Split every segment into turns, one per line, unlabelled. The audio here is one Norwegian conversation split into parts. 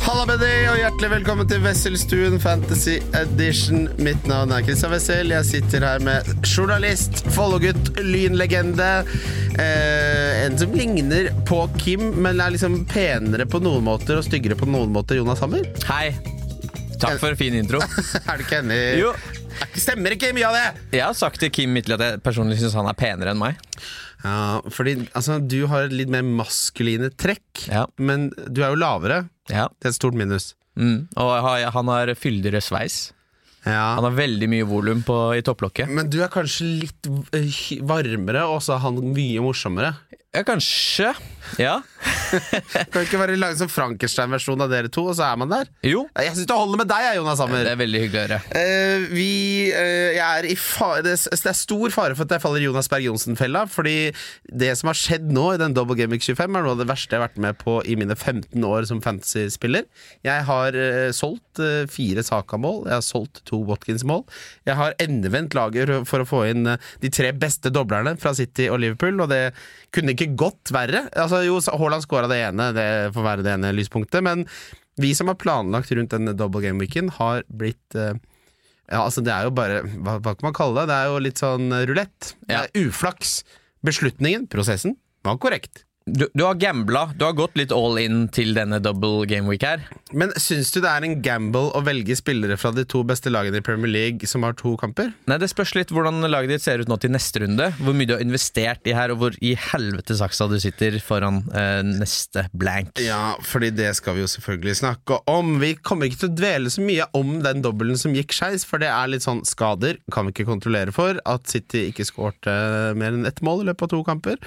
Halla med deg, og hjertelig velkommen til Wesselstuen Fantasy Edition. Mitt navn er Christian Wessel. Jeg sitter her med journalist, Follo-gutt, lynlegende. Eh, en som ligner på Kim, men er liksom penere på noen måter og styggere på noen måter. Jonas Hammer?
Hei. Takk for en fin intro.
Er du ikke enig?
Jo.
Er ikke- Stemmer ikke mye av det?
Jeg har sagt til Kim Midtly at jeg personlig syns han er penere enn meg.
Ja, fordi altså, du har litt mer maskuline trekk,
Ja.
men du er jo lavere.
Ja.
Det er et stort minus.
Mm. Og har- han har fyldigere sveis.
Ja.
Han har veldig mye volum på- i topplokket.
Men du er kanskje litt eh, varmere, og så er han mye morsommere.
Ja, kanskje. Ja.
Kan ikke bare lage sånn Frankenstein-versjon av dere to, og så er man der?
Jo.
Jeg syns det holder med deg, jeg, Jonas
Det
Hammer.
er veldig hyggelig å høre.
Eh, vi, eh, jeg er i fa det, s- det er stor fare for at jeg faller i Jonas Berg Johnsen-fella. Fordi det som har skjedd nå i den Double Game Week 25, er noe av det verste jeg har vært med på i mine 15 år som fantasy-spiller. Jeg har eh, solgt eh, fire Saka-mål, jeg har solgt to Watkins-mål. Jeg har endevendt laget for å få inn eh, de tre beste doblerne fra City og Liverpool, og det kunne ikke gått verre. Altså, jo, Haaland skåra det ene, det får være det ene lyspunktet, men vi som har planlagt rundt denne double game-weeken, har blitt eh, ja, altså det er jo bare Hva, hva kan man kalle det? Det er jo litt sånn eh, rulett.
Ja.
Det er uflaks. Beslutningen, prosessen, var korrekt.
Du, du har gambla. Du har gått litt all in til denne double game week her.
Men syns du det er en gamble å velge spillere fra de to beste lagene i Premier League som har to kamper?
Nei, Det spørs litt hvordan laget ditt ser ut nå til neste runde. Hvor mye du har investert i her, og hvor i helvete saksa du sitter foran eh, neste blank.
Ja, fordi det skal vi jo selvfølgelig snakke om. Vi kommer ikke til å dvele så mye om den dobbelen som gikk skeis, for det er litt sånn skader kan vi ikke kontrollere for. At City ikke skårte eh, mer enn ett mål i løpet av to kamper.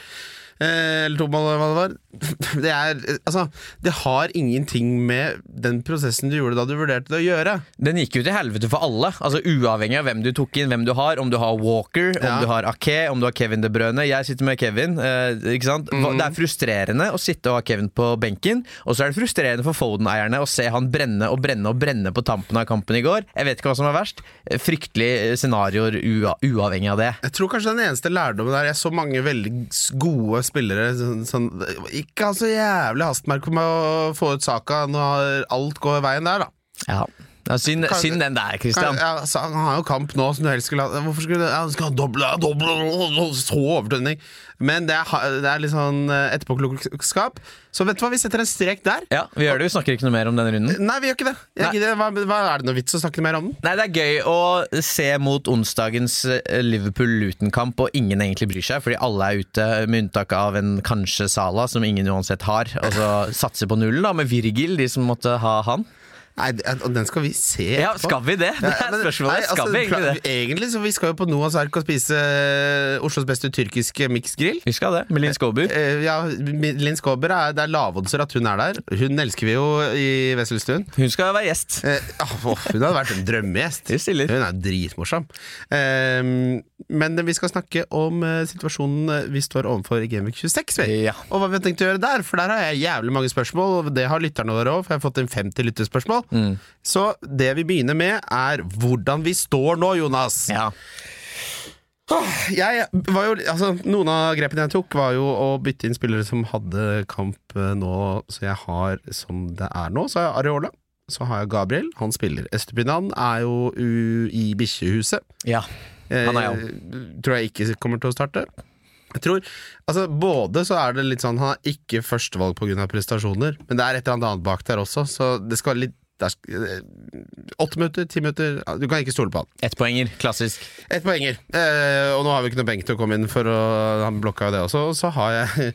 Eh, eller to mål, eller hva det var. Det er Altså, det har ingenting med den prosessen du gjorde da du vurderte det å gjøre.
Den gikk jo til helvete for alle. Altså Uavhengig av hvem du tok inn, hvem du har. Om du har Walker,
Ja.
om du har Ake, om du har Kevin De Brøne. Jeg sitter med Kevin. eh, ikke sant?
Mm.
Hva- Det er frustrerende å sitte og ha Kevin på benken. Og så er det frustrerende for Foden-eierne å se han brenne og brenne og brenne på tampen av kampen i går. Jeg vet ikke hva som er verst. Eh, Fryktelige scenarioer ua uavhengig av det.
Jeg tror kanskje den eneste lærdommen der Jeg så mange veldig s- gode spillere sånn, sånn, Ikke ha så jævlig hastverk med å få ut saka når alt går veien der, da.
Ja, ja Synd
Kan-
synd den der, Christian.
Ja, sa- han har jo kamp nå som du helst skulle ha Hvorfor skulle du ja, han skal ha doble, doble Så overtønning Men det er, ha- det er litt sånn eh, etterpåklokskap Så vet du hva, vi setter en strek der
Ja, Vi gjør det, vi snakker ikke noe mer om denne runden.
Nei, vi gjør ikke det, Jeg
Nei.
gidder- hva, hva er det noe vits å snakke mer om den?
Nei, Det er gøy å se mot onsdagens eh, Liverpool-Luton-kamp, og ingen egentlig bryr seg, fordi alle er ute, med unntak av en kanskje Sala, som ingen uansett har. Og så satser på nullen, da, med Virgil, de som måtte ha han.
Nei, det- og den skal vi se
Ja,
etterpå.
skal vi det? Det
Ja,
er
men-
spørsmålet.
nei,
Skal
altså,
vi egentlig
pla-
det?
Egentlig, så vi skal jo på Noahs Ark og spise eh, Oslos beste tyrkiske mixgrill
Vi skal det, med Linn Skåber.
Eh, Ja, Linn Skåber, er, det er lavodser at hun er der Hun elsker vi jo i Vesselstuen
Hun skal være gjest.
Eh, åh, hun hadde vært en drømmegjest.
Vi stiller.
Hun er dritmorsom. Ehm, men vi skal snakke om eh, situasjonen vi står overfor i Gameweek 26. vi.
Ja.
Og hva vi har tenkt å gjøre der, for der har jeg jævlig mange spørsmål. Og det har lytterne våre òg, for jeg har fått inn 50 lyttespørsmål.
Mm.
Så det vi begynner med, er hvordan vi står nå, Jonas.
Ja.
Jeg var jo, altså, noen av grepene jeg tok, var jo å bytte inn spillere som hadde kamp eh, nå, så jeg har som det er nå. Så har jeg Areola, så har jeg Gabriel, han spiller. Estepinan er jo u i bikkjehuset.
ja.
Eh,
Han er
Tror jeg ikke kommer til å starte. Jeg tror, altså Både så er det litt sånn han er ikke førstevalg pga. prestasjoner, men det er et eller annet annet bak der også, så det skal litt der, sk- eh, Åtte minutter, ti minutter ja, Du kan ikke stole på han.
Ettpoenger. Klassisk.
Ett poenger. Eh, og nå har vi ikke noe benk til å komme inn, for å, han blokka jo det også. Og så har jeg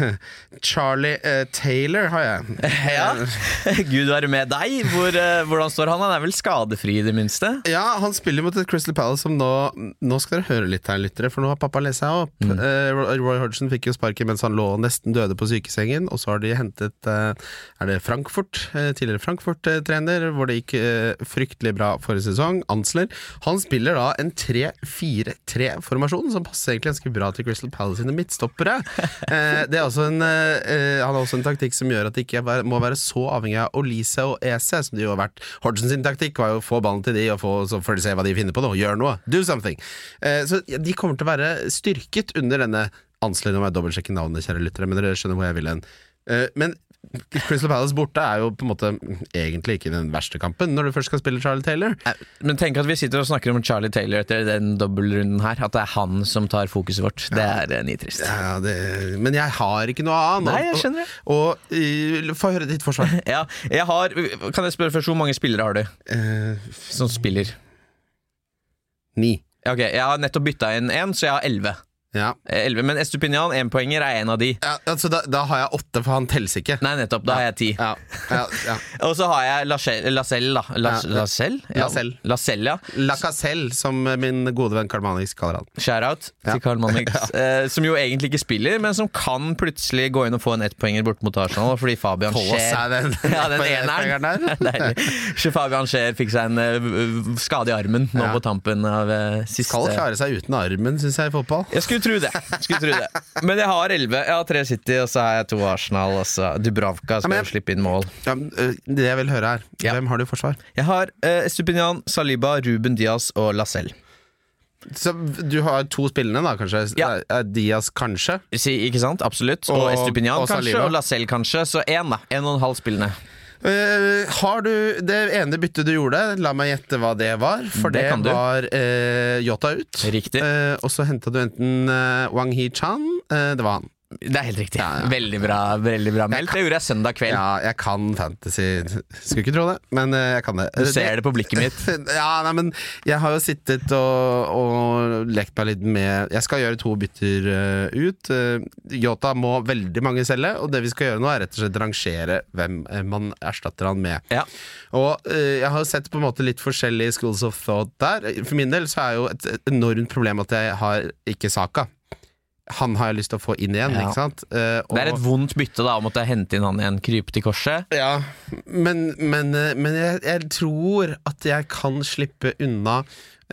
Charlie eh, Taylor, har jeg.
Ja. Gud være med deg. Hvor, eh, hvordan står han? Han er vel skadefri, i det minste?
Ja, han spiller mot et Crystal Palace som nå Nå skal dere høre litt her, lyttere, for nå har pappa lest seg opp. Eh, Roy- Roy Hodgson fikk jo sparken mens han lå og nesten døde på sykesengen, og så har de hentet eh, Er det Frankfurt? eh, tidligere Frankfurt eh, trener, hvor det gikk eh, fryktelig bra forrige sesong, Ansler. Han spiller da en 3-4-3-formasjon, som passer egentlig ganske bra til Crystal Palace sine midtstoppere. Eh, det er også en, eh, eh, han har også en taktikk som gjør at det ikke er- må være så avhengig av Olise og Ese, som de jo har vært. Hodgson sin taktikk var jo å få ballen til de, og få, så får de se hva de finner på nå. Gjør noe! Do something! Eh, så de kommer til å være styrket under denne Ansler, nå må jeg dobbeltsjekke navnet, kjære lyttere, men dere skjønner hvor jeg vil hen. Eh, Men Crystal Palace borte er jo på en måte egentlig ikke den verste kampen når du først skal spille Charlie Taylor.
Men tenk at vi sitter og snakker om Charlie Taylor etter den dobbeltrunden her. At det er han som tar fokuset vårt. Det er eh, nitrist.
Ja, det, men jeg har ikke noe annet.
Nei, jeg skjønner det.
Og, og, eh, Få høre ditt forsvar.
Ja, jeg har Kan jeg spørre først, hvor mange spillere har du
Eh,
som spiller?
ni.
Ja, Ok, Jeg har nettopp bytta inn én, så jeg har elleve.
Ja.
Eh, elleve, Men Estupinian, énpoenger, er en av de.
ja altså, da, da har jeg åtte, for han telles ikke.
Nei, nettopp. Da har jeg ti.
Ja, ja, ja.
Og så har jeg Lacelle, Lacelle da. Las-
Ja.
Lacelle?
Lacelle.
Lacelle, ja.
Lacazelle, som min gode venn Karl Manix kaller han.
Shout-out til Carl Mannix, eh, som jo egentlig ikke spiller, men som kan plutselig gå inn og få en ettpoenger bort mot Arsenal, fordi Fabian
Få oss
Scheer
her den,
ja, den eneren.
der.
Deilig. Så Fabian Scheer fikk seg en eh, v- skade i armen nå
Ja.
på tampen av eh, siste
Skal klare seg uten armen, syns jeg, i fotball.
Jeg skulle tro det. Skulle tro det. Men jeg har elleve. Jeg har tre City, og så har jeg to Arsenal. Og så Dubravka skal
men-
jo slippe inn mål.
Ja, men, eh, det jeg vil høre, er
Ja.
hvem har du i forsvar?
Jeg har eh, Estupinian, Saliba, Ruben Diaz og Lacelle.
Så du har to spillende, da, kanskje?
Ja.
Eh, Diaz, kanskje?
Si, ikke sant? Absolutt. Og,
Og-
Estupinian
og
kanskje,
Saliba.
og Lacelle kanskje. Så én, da. En og en halv spillende.
Eh, har du det ene byttet du gjorde, la meg gjette hva det var. For
Det
det,
kan du.
var eh, Yota ut.
Riktig.
Eh, og så henta du enten eh, Wang Hee-chan eh, Det var han.
Det er helt riktig. Veldig bra veldig bra meldt. Det gjorde jeg søndag kveld.
Ja, jeg kan fantasy. Skulle ikke tro det, men eh, jeg kan det.
Du ser det på blikket mitt.
Ja, nei, men jeg har jo sittet og, og lekt meg litt med Jeg skal gjøre to bytter eh, ut. Eh, Yota må veldig mange selge, og det vi skal gjøre nå, er rett og slett rangere hvem eh, man erstatter han med.
Ja.
Og eh, jeg har jo sett på en måte litt forskjellige schools of thought der. For min del så er jo et enormt problem at jeg har ikke Saka. Han har jeg lyst til å få inn igjen,
Ja.
ikke sant? Eh, og,
Det er et vondt bytte da å måtte hente inn han igjen, krype til korset.
ja, men, men, eh, men jeg, jeg tror at jeg kan slippe unna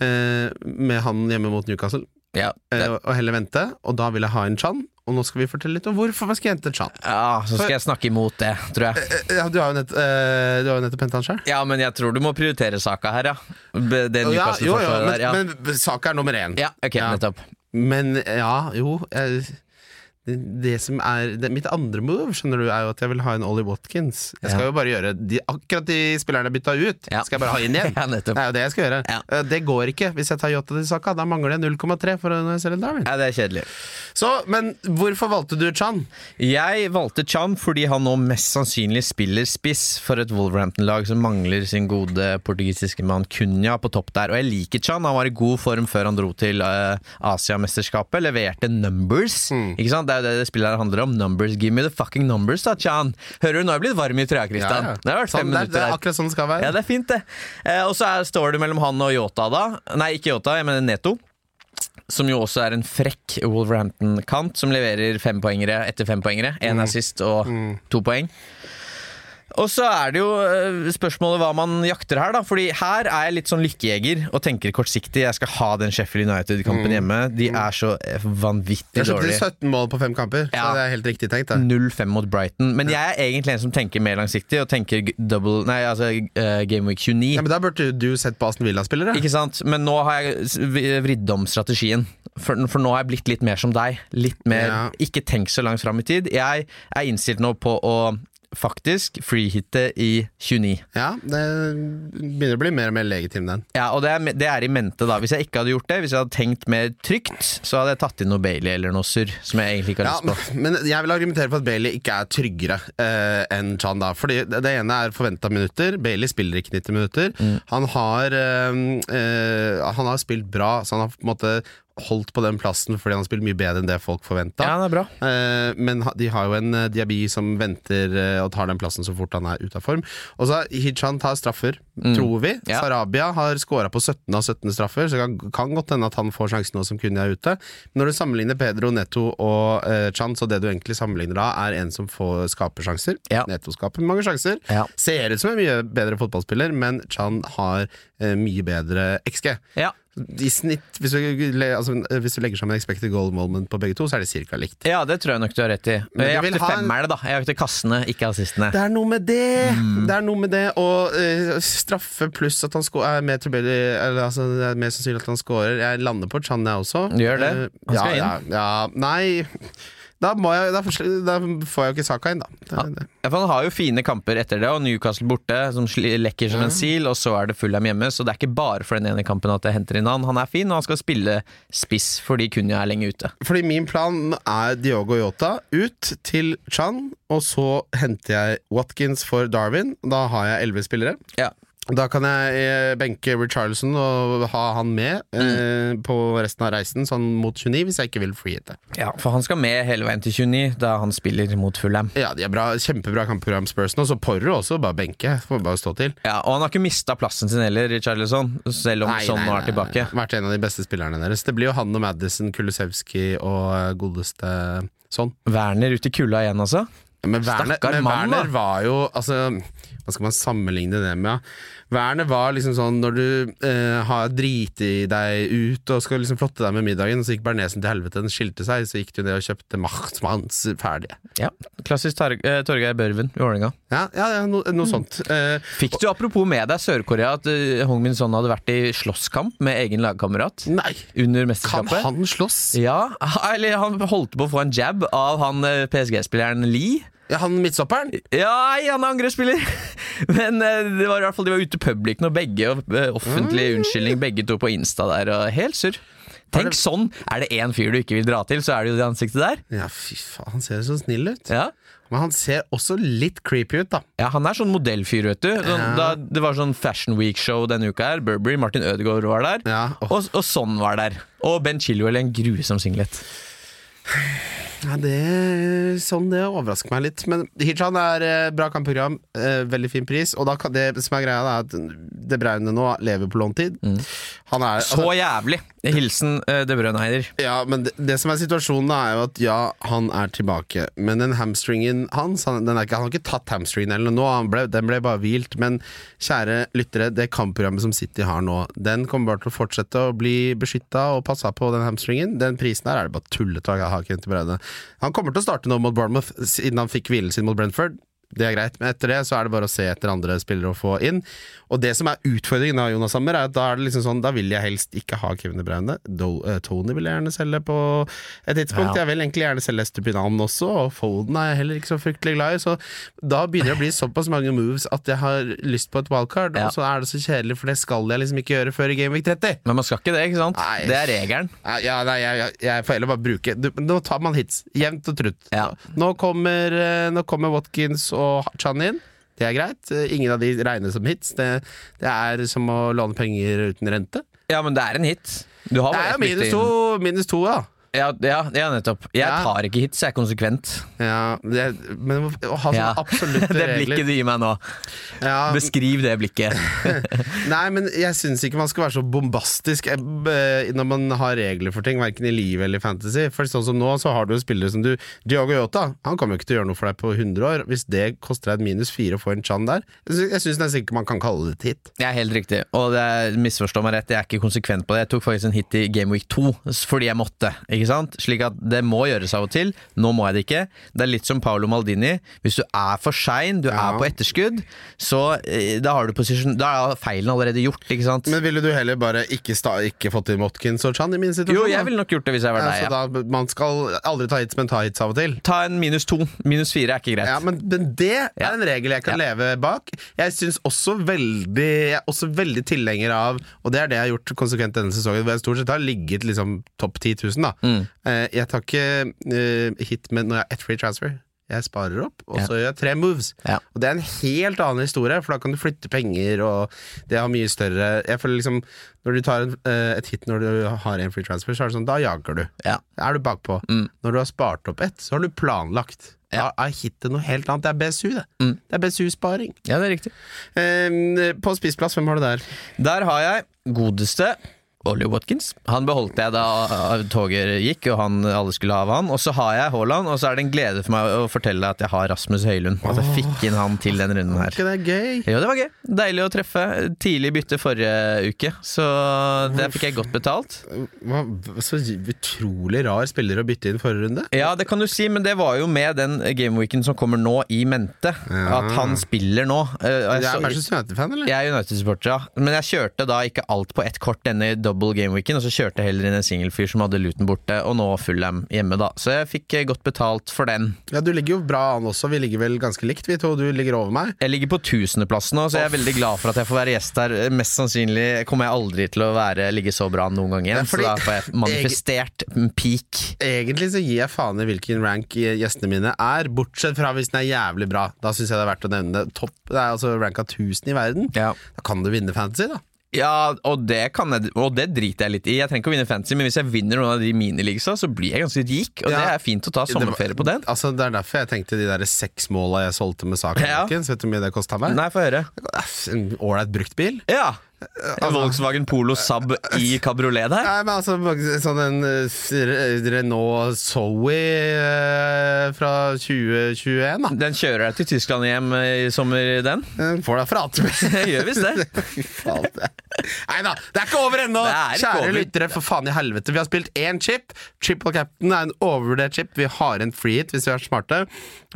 eh, med han hjemme mot Newcastle,
Ja,
eh,
det,
og heller vente. Og da vil jeg ha en Chan, og nå skal vi fortelle litt om hvorfor man skal hente en Chan.
ja Så skal jeg snakke imot det, tror jeg.
Eh, Ja, du har jo nett, eh, du har jo nettopp hentet han sjøl.
Ja, men jeg tror du må prioritere saka her, ja. B- Det
Ja, jo, jo,
Newcastle-forsvaret
men,
der. Ja.
men saka er nummer én.
ja, ok,
Ja.
nettopp.
Men ja, jo jeg, det, det som er det, Mitt andre move skjønner du er jo at jeg vil ha en Ollie Watkins. Jeg skal
Ja.
jo bare gjøre de, Akkurat de spillerne jeg bytta ut,
Ja.
skal jeg bare ha inn igjen.
Ja, nettopp.
det er jo det jeg skal gjøre.
Ja.
Eh, Det går ikke hvis jeg tar Yota til Saka. Da mangler jeg 0,3 for å selge Darwin.
Ja, det er kjedelig.
Så, men hvorfor valgte du Chan?
Jeg valgte Cham fordi han nå mest sannsynlig spiller spiss for et Wolverhampton-lag som mangler sin gode portugisiske mann Cunha på topp der. Og jeg liker Chan. Han var i god form før han dro til uh, Asiamesterskapet. Leverte numbers.
Mm.
Ikke sant? Det er jo det det spillet her handler om. Numbers. Give me the fucking numbers, da, Chan. Hører du, nå har jeg blitt varm i trøya, Kristian. Det har vært fem
Sånn, det, er,
minutter
det
her.
er akkurat sånn det skal være.
Ja, det er fint, det. Eh, og så er, står det mellom han og Yota, da. Nei, ikke Yota, jeg mener Neto. Som jo også er en frekk Wolverhampton-kant, som leverer fempoengere etter fempoengere. Én assist og to poeng. Og så er det jo eh, spørsmålet hva man jakter her, da. Fordi her er jeg litt sånn lykkejeger og tenker kortsiktig. Jeg skal ha den Sheffield United-kampen hjemme. De er så eh, vanvittig
jeg skjønte
dårlige.
17 mål på fem kamper,
Ja.
så det er helt riktig tenkt. Det.
0-5 mot Brighton. Men jeg er egentlig en som tenker mer langsiktig, og tenker g- double Nei, altså eh, Game Week 29.
Ja, men da burde du sett på Aston Villa-spillere.
Ikke sant? Men nå har jeg s- v- vridd om strategien. For, for nå har jeg blitt litt mer som deg. Litt mer
Ja.
Ikke tenk så langt fram i tid. Jeg er innstilt nå på å faktisk freehitte i 29.
Ja, det begynner å bli mer og mer legitim, den.
Ja, og det er, det er i mente, da. Hvis jeg ikke hadde gjort det, hvis jeg hadde tenkt mer trygt, så hadde jeg tatt inn noe Bailey eller noe surr som jeg egentlig ikke har
Ja,
lyst på.
men jeg vil argumentere for at Bailey ikke er tryggere eh, enn Chan. da Fordi Det det ene er forventa minutter. Bailey spiller ikke
Mm.
90 minutter. Han, har, eh, eh, han har spilt bra, så han har på en måte holdt på den plassen fordi han har spilt mye bedre enn det folk forventa.
Ja, det er bra.
Eh, men ha- de har jo en eh, Diaby som venter eh, og tar den plassen så fort han er ute av form. Og så har Hichan tar straffer, tror vi.
Mm. Ja.
Sarabia har scora på 17 av 17 straffer, så det kan, kan godt hende at han får sjansen nå som Kunya er ute. Men når du sammenligner Pedro, Neto og eh, Chan, så det du egentlig sammenligner da, er en som får skaper sjanser.
Ja.
Neto skaper mange sjanser.
Ja.
Ser ut som en mye bedre fotballspiller, men Chan har eh, mye bedre XG.
Ja.
I snitt, hvis du, le- altså, hvis du legger sammen expected goal moment på begge to, så er det cirka likt.
ja, det tror jeg nok du har rett i.
Men
Jeg
du vil
jakter
ha en-
femmerne, da. Jeg jakter kassene, ikke assistene.
Det er noe med det!
Mm.
Det er noe med det Og eh, straffe pluss at han sko er mer tilbøyelig Eller altså, det er mer sannsynlig at han scorer. Jeg lander på Chan, jeg også.
Gjør det?
Eh,
Han
ja,
skal
ja, ja, nei da, må jeg, da, forsl- da får jeg jo ikke saka inn, da. Det, er det.
Ja, for Han har jo fine kamper etter det, og Newcastle borte, som sli- lekker som en sil. Og så er det Fulham hjemme, så det er ikke bare for den ene kampen at jeg henter inn han. Han er fin, og han skal spille spiss fordi Kunya er lenge ute.
Fordi min plan er Diogo Yota ut til Chan, og så henter jeg Watkins for Darwin. Da har jeg elleve spillere.
Ja.
Da kan jeg eh, benke Richarlison og ha han med eh,
Mm.
på resten av reisen, sånn mot 29, hvis jeg ikke vil freehite.
For han skal med hele veien til 29, da han spiller mot Fulham.
Ja, de er bra, kjempebra kampprogram Spurs nå, så Porro også, bare benke. Får bare stå til.
Ja, Og han har ikke mista plassen sin heller, Richarlison, selv om sånn nå er tilbake.
Vært en av de beste spillerne deres. Det blir jo han og Madison, Kulusevski og eh, godeste sånn.
Werner ut i kulda igjen, altså.
Men Werner,
Stakkar
men
mann, da.
Werner var jo altså, Hva skal man sammenligne det med? Ja? Werner var liksom sånn når du eh, har driti deg ut og skal liksom flotte deg med middagen, så gikk Bernesen til helvete, den skilte seg, så gikk du ned og kjøpte Machtmanns ferdige.
Ja, Klassisk Tar eh, Torgeir Børven i Vålerenga.
Ja, ja, ja no,
Mm.
noe sånt. Eh,
Fikk du apropos med deg Sør-Korea at eh, Hong Min Son hadde vært i slåsskamp med egen lagkamerat
nei!
under
Kan
mesterskapet?
han slåss?
Ja, eller han holdt på å få en jab av han eh, PSG-spilleren Lee.
Ja, han midtstopperen?
Ja, nei, han er angrepsspiller! Men eh, det var i hvert fall de var ute i public når begge og eh, offentlig unnskyldning begge to på Insta der, og helt surr. Tenk sånn! Er det én fyr du ikke vil dra til, så er det jo det ansiktet der.
Ja, fy faen, han ser så snill ut.
Ja,
Men han ser også litt creepy ut, da.
ja han er sånn modellfyr, vet du. Sånn, da, det var sånn Fashion Week-show denne uka her. Burberry, Martin Ødegaard var der.
Ja, og,
Og, og sånn var der. Og Ben Chilwell i en grusom singlet.
ja det, Sånn, det overrasker meg litt. Men Hichan er eh, bra kampprogram, eh, veldig fin pris. Og da kan det som er greia, det er at De Bruyne nå lever på låntid. Han er
Så jævlig! Hilsen eh, De Brønheider.
Ja, men det, det som er situasjonen, da, er jo at ja, han er tilbake. Men den hamstringen hans han, den er ikke, han har ikke tatt hamstringen eller noe, han ble, den ble bare hvilt. Men kjære lyttere, det kampprogrammet som City har nå, den kommer bare til å fortsette å bli beskytta og passa på, den hamstringen. Den prisen der er det bare tullete å ha Kent Breide. Han kommer til å starte nå mot Bournemouth, siden han fikk hvilen sin mot Brentford. Det er greit, men etter det så er det bare å se etter andre spillere å få inn. Og det som er utfordringen da, Jonas Hammer, er at da er det liksom sånn Da vil jeg helst ikke ha Kevin De Bruyne. Do- eh, Tony vil jeg gjerne selge på et tidspunkt. Jeg vil egentlig gjerne selge Estupinan også, og Foden er jeg heller ikke så fryktelig glad i. Så da begynner det å bli såpass mange moves at jeg har lyst på et wildcard,
Ja.
og så er det så kjedelig, for det skal jeg liksom ikke gjøre før i Gameweek 30.
Men man skal ikke det, ikke sant?
Nei.
Det er regelen.
Nei, Ja, nei, jeg, jeg, jeg får heller bare bruke du, Nå tar man hits, jevnt og trutt.
Ja.
Nå, kommer, eh, nå kommer Watkins og Chan inn. Det er greit. Eh, Ingen av de regnes som hits. Det, det er som å låne penger uten rente.
Ja, men det er en hit. Du har
Det er
bare
jo
ett bytte
minus to,
inn.
minus to da.
Ja, ja, ja, nettopp. Jeg
Ja.
tar ikke hits, jeg er konsekvent.
Ja, det, men å ha sånne
Ja.
absolutte
det
regler
blikket du gir meg nå.
ja,
Beskriv det blikket.
Nei, men jeg syns ikke man skal være så bombastisk eh, b- når man har regler for ting, verken i livet eller i fantasy. For sånn som nå, så har du jo spillere som du Diogo Yota, han kommer jo ikke til å gjøre noe for deg på 100 år. Hvis det koster deg et minus fire å få en chan der, jeg sy- jeg syns nesten ikke man kan kalle det et hit.
Jeg er helt riktig, og det er, misforstå meg rett, jeg er ikke konsekvent på det. Jeg tok faktisk en hit i Game Week 2 s- fordi jeg måtte, ikke sant? Slik at det må gjøres av og til. Nå må jeg det ikke. Det er litt som Paolo Maldini. Hvis du er for sein, du
Ja.
er på etterskudd, så eh, da har du posisjon Da er feilen allerede gjort, ikke sant?
Men ville du heller bare ikke, sta, ikke fått inn Watkins og Chan i min situasjon?
jo, jeg
da?
ville nok gjort det hvis jeg var
Ja,
deg.
så
Ja.
da, man skal aldri ta hits, men ta hits av og til.
Ta en minus to. Minus fire er ikke greit.
Ja, men, men det
Ja.
er en regel jeg kan
Ja.
leve bak. Jeg synes også veldig Jeg er også veldig tilhenger av Og det er det jeg har gjort konsekvent denne sesongen, hvor jeg stort sett har ligget
Mm.
liksom topp 10 000. Da. Eh, jeg tar ikke eh, hit med når jeg har ett free transfer. Jeg jeg sparer opp, og så gjør jeg tre moves.
Ja.
Og det er en helt annen historie, for da kan du flytte penger, og det har mye større Jeg føler liksom Når du tar en, eh, et hit når du har en free transfer, så er det sånn, da jager du.
Ja.
Da er du bakpå.
Mm.
Når du har spart opp ett, så har du planlagt. Da er hitet noe helt annet. Det er BSU, det.
Mm.
Det er BSU-sparing.
ja, det er riktig.
Eh, på spiseplass, hvem har du der?
Der har jeg godeste Ollie Watkins. Han beholdt jeg da uh, toget gikk, og han, alle skulle ha av han. Og så har jeg Haaland, og så er det en glede for meg å fortelle at jeg har Rasmus Høylund. At jeg fikk inn han til den runden her.
Ikke det er gøy?
Jo, det var gøy. Deilig å treffe. Tidlig bytte forrige uke, så der fikk jeg godt betalt.
Hva, så utrolig rar spiller å bytte inn forrige runde.
Ja, det kan du si, men det var jo med den gameweeken som kommer nå, i mente. At han spiller nå. Eh, og jeg
Du
så-
er Manchester United-fan, eller?
Jeg er United-supporter, ja. Men jeg kjørte da ikke alt på ett kort denne double gameweeken, og så kjørte jeg heller inn en singelfyr som hadde Luton borte, og nå Fullham hjemme, da. Så jeg fikk eh, godt betalt for den.
Ja, Du ligger jo bra an også. Vi ligger vel ganske likt, vi to. Du ligger over meg.
Jeg ligger på tusendeplass nå, så jeg er veldig glad for at jeg får være gjest her. Mest sannsynlig kommer jeg aldri til å være, ligge så bra noen gang
Ja,
igjen, så
fordi-
da får jeg manifestert en peak.
Egentlig så gir jeg faen i hvilken rank gjestene mine er, bortsett fra hvis den er jævlig bra. Da syns jeg det er verdt å nevne det. Topp, det er altså ranka 1000 i verden.
Ja.
Da kan du vinne fantasy, da.
Ja, og det, kan jeg, og det driter jeg litt i. Jeg trenger ikke å vinne fancy, men hvis jeg vinner noen av de minileagsa, så blir jeg ganske rik, og
Ja.
det er fint å ta sommerferie
det,
på den.
Altså, det er derfor jeg tenkte de der seks måla jeg solgte med Saka
Ja.
Watkins. Vet du hvor mye det kosta meg?
Nei, få høre.
Æff, En ålreit bruktbil.
Ja! En Volkswagen Polo Saab i kabriolet der.
Nei, men altså sånn en eh, Renault Zoe eh, fra 2021, da.
Den kjører deg til Tyskland hjem eh, i sommer, den.
Den får deg fra ATP.
Jeg Eh, gjør visst det.
Nei da, det er ikke over ennå!
Det er ikke
Kjære
over.
lyttere, for faen i helvete. Vi har spilt én chip. Triple captain er en overvurdert chip. Vi har en free hit hvis vi er smarte.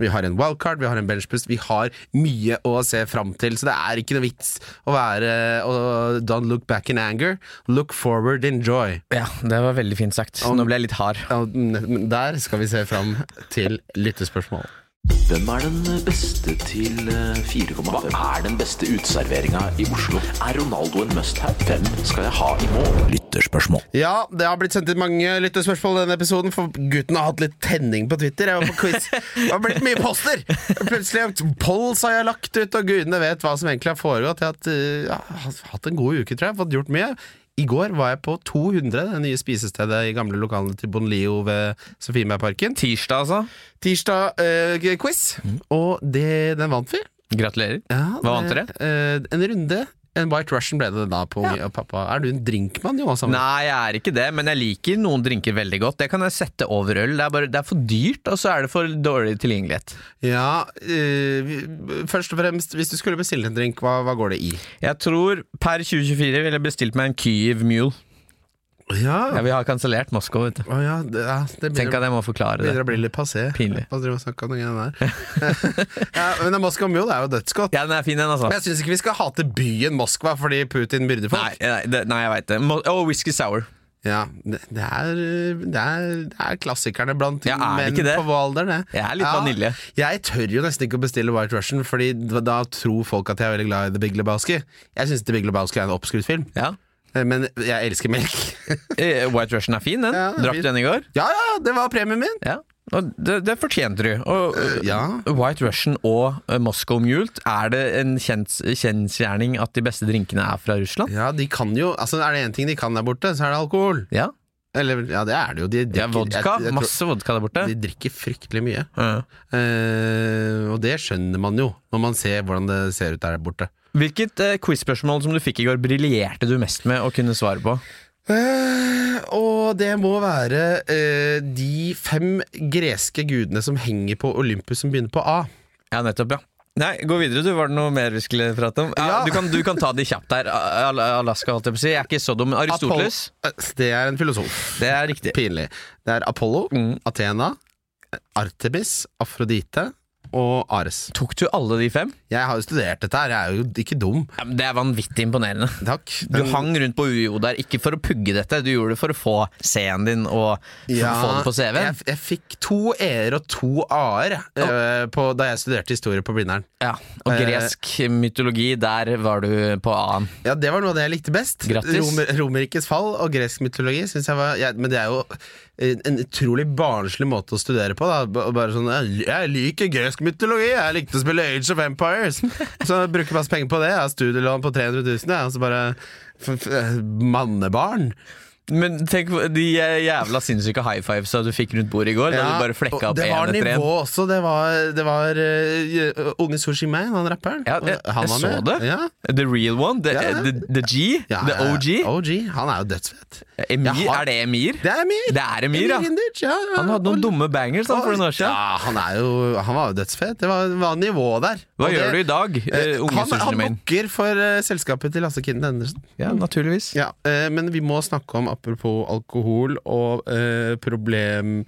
Vi har en wildcard, vi har en benchboost. Vi har mye å se fram til, så det er ikke noe vits å være å- Don't look back in anger. Look forward in joy.
Ja, det var veldig fint sagt. Nå ble jeg litt hard.
Ja, men Der skal vi se fram til lyttespørsmål.
Hvem er den beste til eh, 4,5? Hva er den beste uteserveringa i Oslo? Er Ronaldo en must-have? Hvem skal jeg ha i mål? Lytterspørsmål.
Ja, det har blitt sendt inn mange lyttespørsmål i denne episoden, for gutten har hatt litt tenning på Twitter. Jeg var på quiz. Det har blitt mye poster! Plutselig polls har jeg lagt ut, og gudene vet hva som egentlig har foregått. Jeg har hatt, eh, ja, har hatt en god uke, tror jeg. Fått gjort mye. I går var jeg på 200, det nye spisestedet i gamle lokalene til Bonlio ved Sofiemarparken.
Tirsdag, altså.
Tirsdag-quiz, eh, og det, den vant vi.
Gratulerer.
Ja,
Mm. Hva vant
det-
dere?
eh, en runde. En White Russian ble det da på unge og pappa. Er du en drinkmann, Jonas? Hammer?
Nei, jeg er ikke det, men jeg liker noen drinker veldig godt. Det kan jeg sette over øl. Det er, bare, det er for dyrt, og så er det for dårlig tilgjengelighet.
Ja, eh, vi- først og fremst, hvis du skulle bestille en drink, hva, hva går det i?
Jeg tror per 2024 ville jeg bestilt meg en Kyiv Mule.
Ja,
Ja, vi har kansellert Moskva, vet du.
Å ja, det, ja, det
Tenk
begynner,
at jeg må forklare det.
begynner å bli litt passé.
Pinlig.
Hva driver vi og snakker om den greia der? ja, men det er Moskva Mule er jo dødsgodt.
Ja, den er fin, den, altså.
Men jeg syns ikke vi skal hate byen Moskva fordi Putin byrder folk.
Nei, nei, det, nei jeg veit det. Mo- Og Whisky Sour.
Ja, det, det, er, det, er, det er klassikerne blant
Ja, er det
menn
ikke det?
på vår alder, det.
Jeg er litt vanilje.
Jeg tør jo nesten ikke å bestille White Russian, Fordi da da tror folk at jeg er veldig glad i The Big Lebowski. Jeg syns The Big Lebowski er en oppskrytt film,
Ja.
Eh, men jeg elsker melk.
Eh, White Russian er fin, den.
Ja, den er
Drakk
fin.
du den i går?
Ja, ja, det var premien min!
Ja. Og det, det fortjente du. Og eh,
ja.
White Russian og eh, Moscow Mule, er det en kjens, kjensgjerning at de beste drinkene er fra Russland?
Ja, de kan jo Altså, er det én ting de kan der borte, så er det alkohol.
Ja.
Eller, ja, det er det jo. De drikker,
ja vodka.
jeg- jeg tror-
Masse vodka der borte.
De drikker fryktelig mye.
Ja.
Eh, og det skjønner man jo, når man ser hvordan det ser ut der borte.
Hvilket eh, quiz-spørsmål som du fikk i går, briljerte du mest med å kunne svare på?
Eh, og det må være eh, de fem greske gudene som henger på Olympus, som begynner på A.
Ja, nettopp, ja. Nei, gå videre, du. Var det noe mer vi skulle prate om? Ja,
Ja.
Du, kan, du kan ta de kjapt der. Al- Alaska, holdt jeg på å si. Jeg er ikke så dum. men Aristoteles.
Apollo- Eh, det er en filosof.
Det er riktig. Mm.
Pinlig. Det er Apollo, Athena, Artemis, Afrodite, og Ares.
Tok du alle de fem?
Jeg har jo studert dette her, jeg er jo ikke dum.
Ja, men det er vanvittig imponerende.
Takk.
Du hang rundt på UiO der, ikke for å pugge dette, du gjorde det for å få C-en din og for å få det på
Jeg,
CV-en.
jeg fikk to E-er og to A-er eh, på- da jeg studerte historie på Blindern.
Ja, og
Eh,
gresk mytologi, der var du på A-en.
Ja, Det var noe av det jeg likte best.
Grattis.
Romer, Romerrikets fall og gresk mytologi. Synes jeg var, jeg, men det er jo en en utrolig barnslig måte å studere på. Da. B- Bare sånn «Jeg- 'Jeg liker gresk mytologi! Jeg likte å spille Age of Empires!' Så jeg bruker masse penger på det. Jeg har studielån på 300 000, jeg. Og så bare f f Mannebarn!
Men tenk på de jævla sinnssyke high fivesa du fikk rundt bordet i går, da
Ja,
du bare flekka
og
opp
det var
én etter én.
nivå også. Det var, det var eh, Unge Sushiman, han rapperen.
Ja, jeg,
Han
jeg
var
så
med.
det.
Ja.
The real one. The,
Ja, ja.
the, the G.
Ja,
the
ja,
OG.
OG. Han er jo dødsfett.
Emir,
Jeg har-
Er det Emir?
Det er Emir!
Det er Emir, ja.
Hindic, ja, ja.
Han hadde noen dumme bangers da, Sånn for noen år siden.
Ja, han, er jo, han var jo dødsfet. Det var, var nivå der.
Hva
Og det-
gjør du i dag,
Eh,
eh, unge
han,
søsteren
han
min?
booker for eh, selskapet til Lasse Kinden Hendersen.
Ja, naturligvis.
Ja, eh, men vi må snakke om apropos alkohol og eh, problem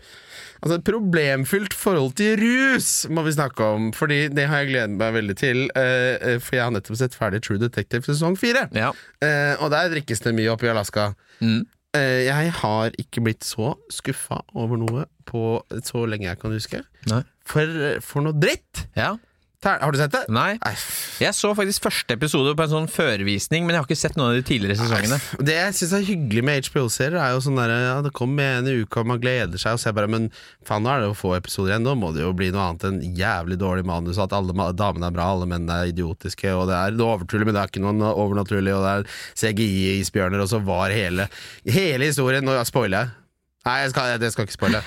Altså et problemfylt forhold til rus må vi snakke om, Fordi det har jeg gledet meg veldig til. eh, eh, for jeg har nettopp sett ferdig True Detective sesong fire.
Ja.
Eh, og der drikkes det mye oppe i Alaska.
Mm.
Eh, jeg har ikke blitt så skuffa over noe på så lenge jeg kan huske.
Nei.
For, eh, for noe dritt!
ja.
Ter- Har du sett det?
Nei.
Nei, f-
Jeg så faktisk første episode på en sånn førvisning, men jeg har ikke sett noen av de tidligere sesongene.
Det jeg syns er hyggelig med HBO-serier, er jo sånn der, ja, det kommer en i uka, man gleder seg, og så er jeg bare Men faen, nå er det jo få episoder igjen, nå må det jo bli noe annet enn jævlig dårlig manus, og at alle ma- damene er bra, alle mennene er idiotiske, og det er det overnaturlig, men det er ikke noe overnaturlig, og det er CGI-isbjørner, og så var hele Hele historien Nå spoiler jeg. Nei, jeg skal, det skal jeg ikke spoile.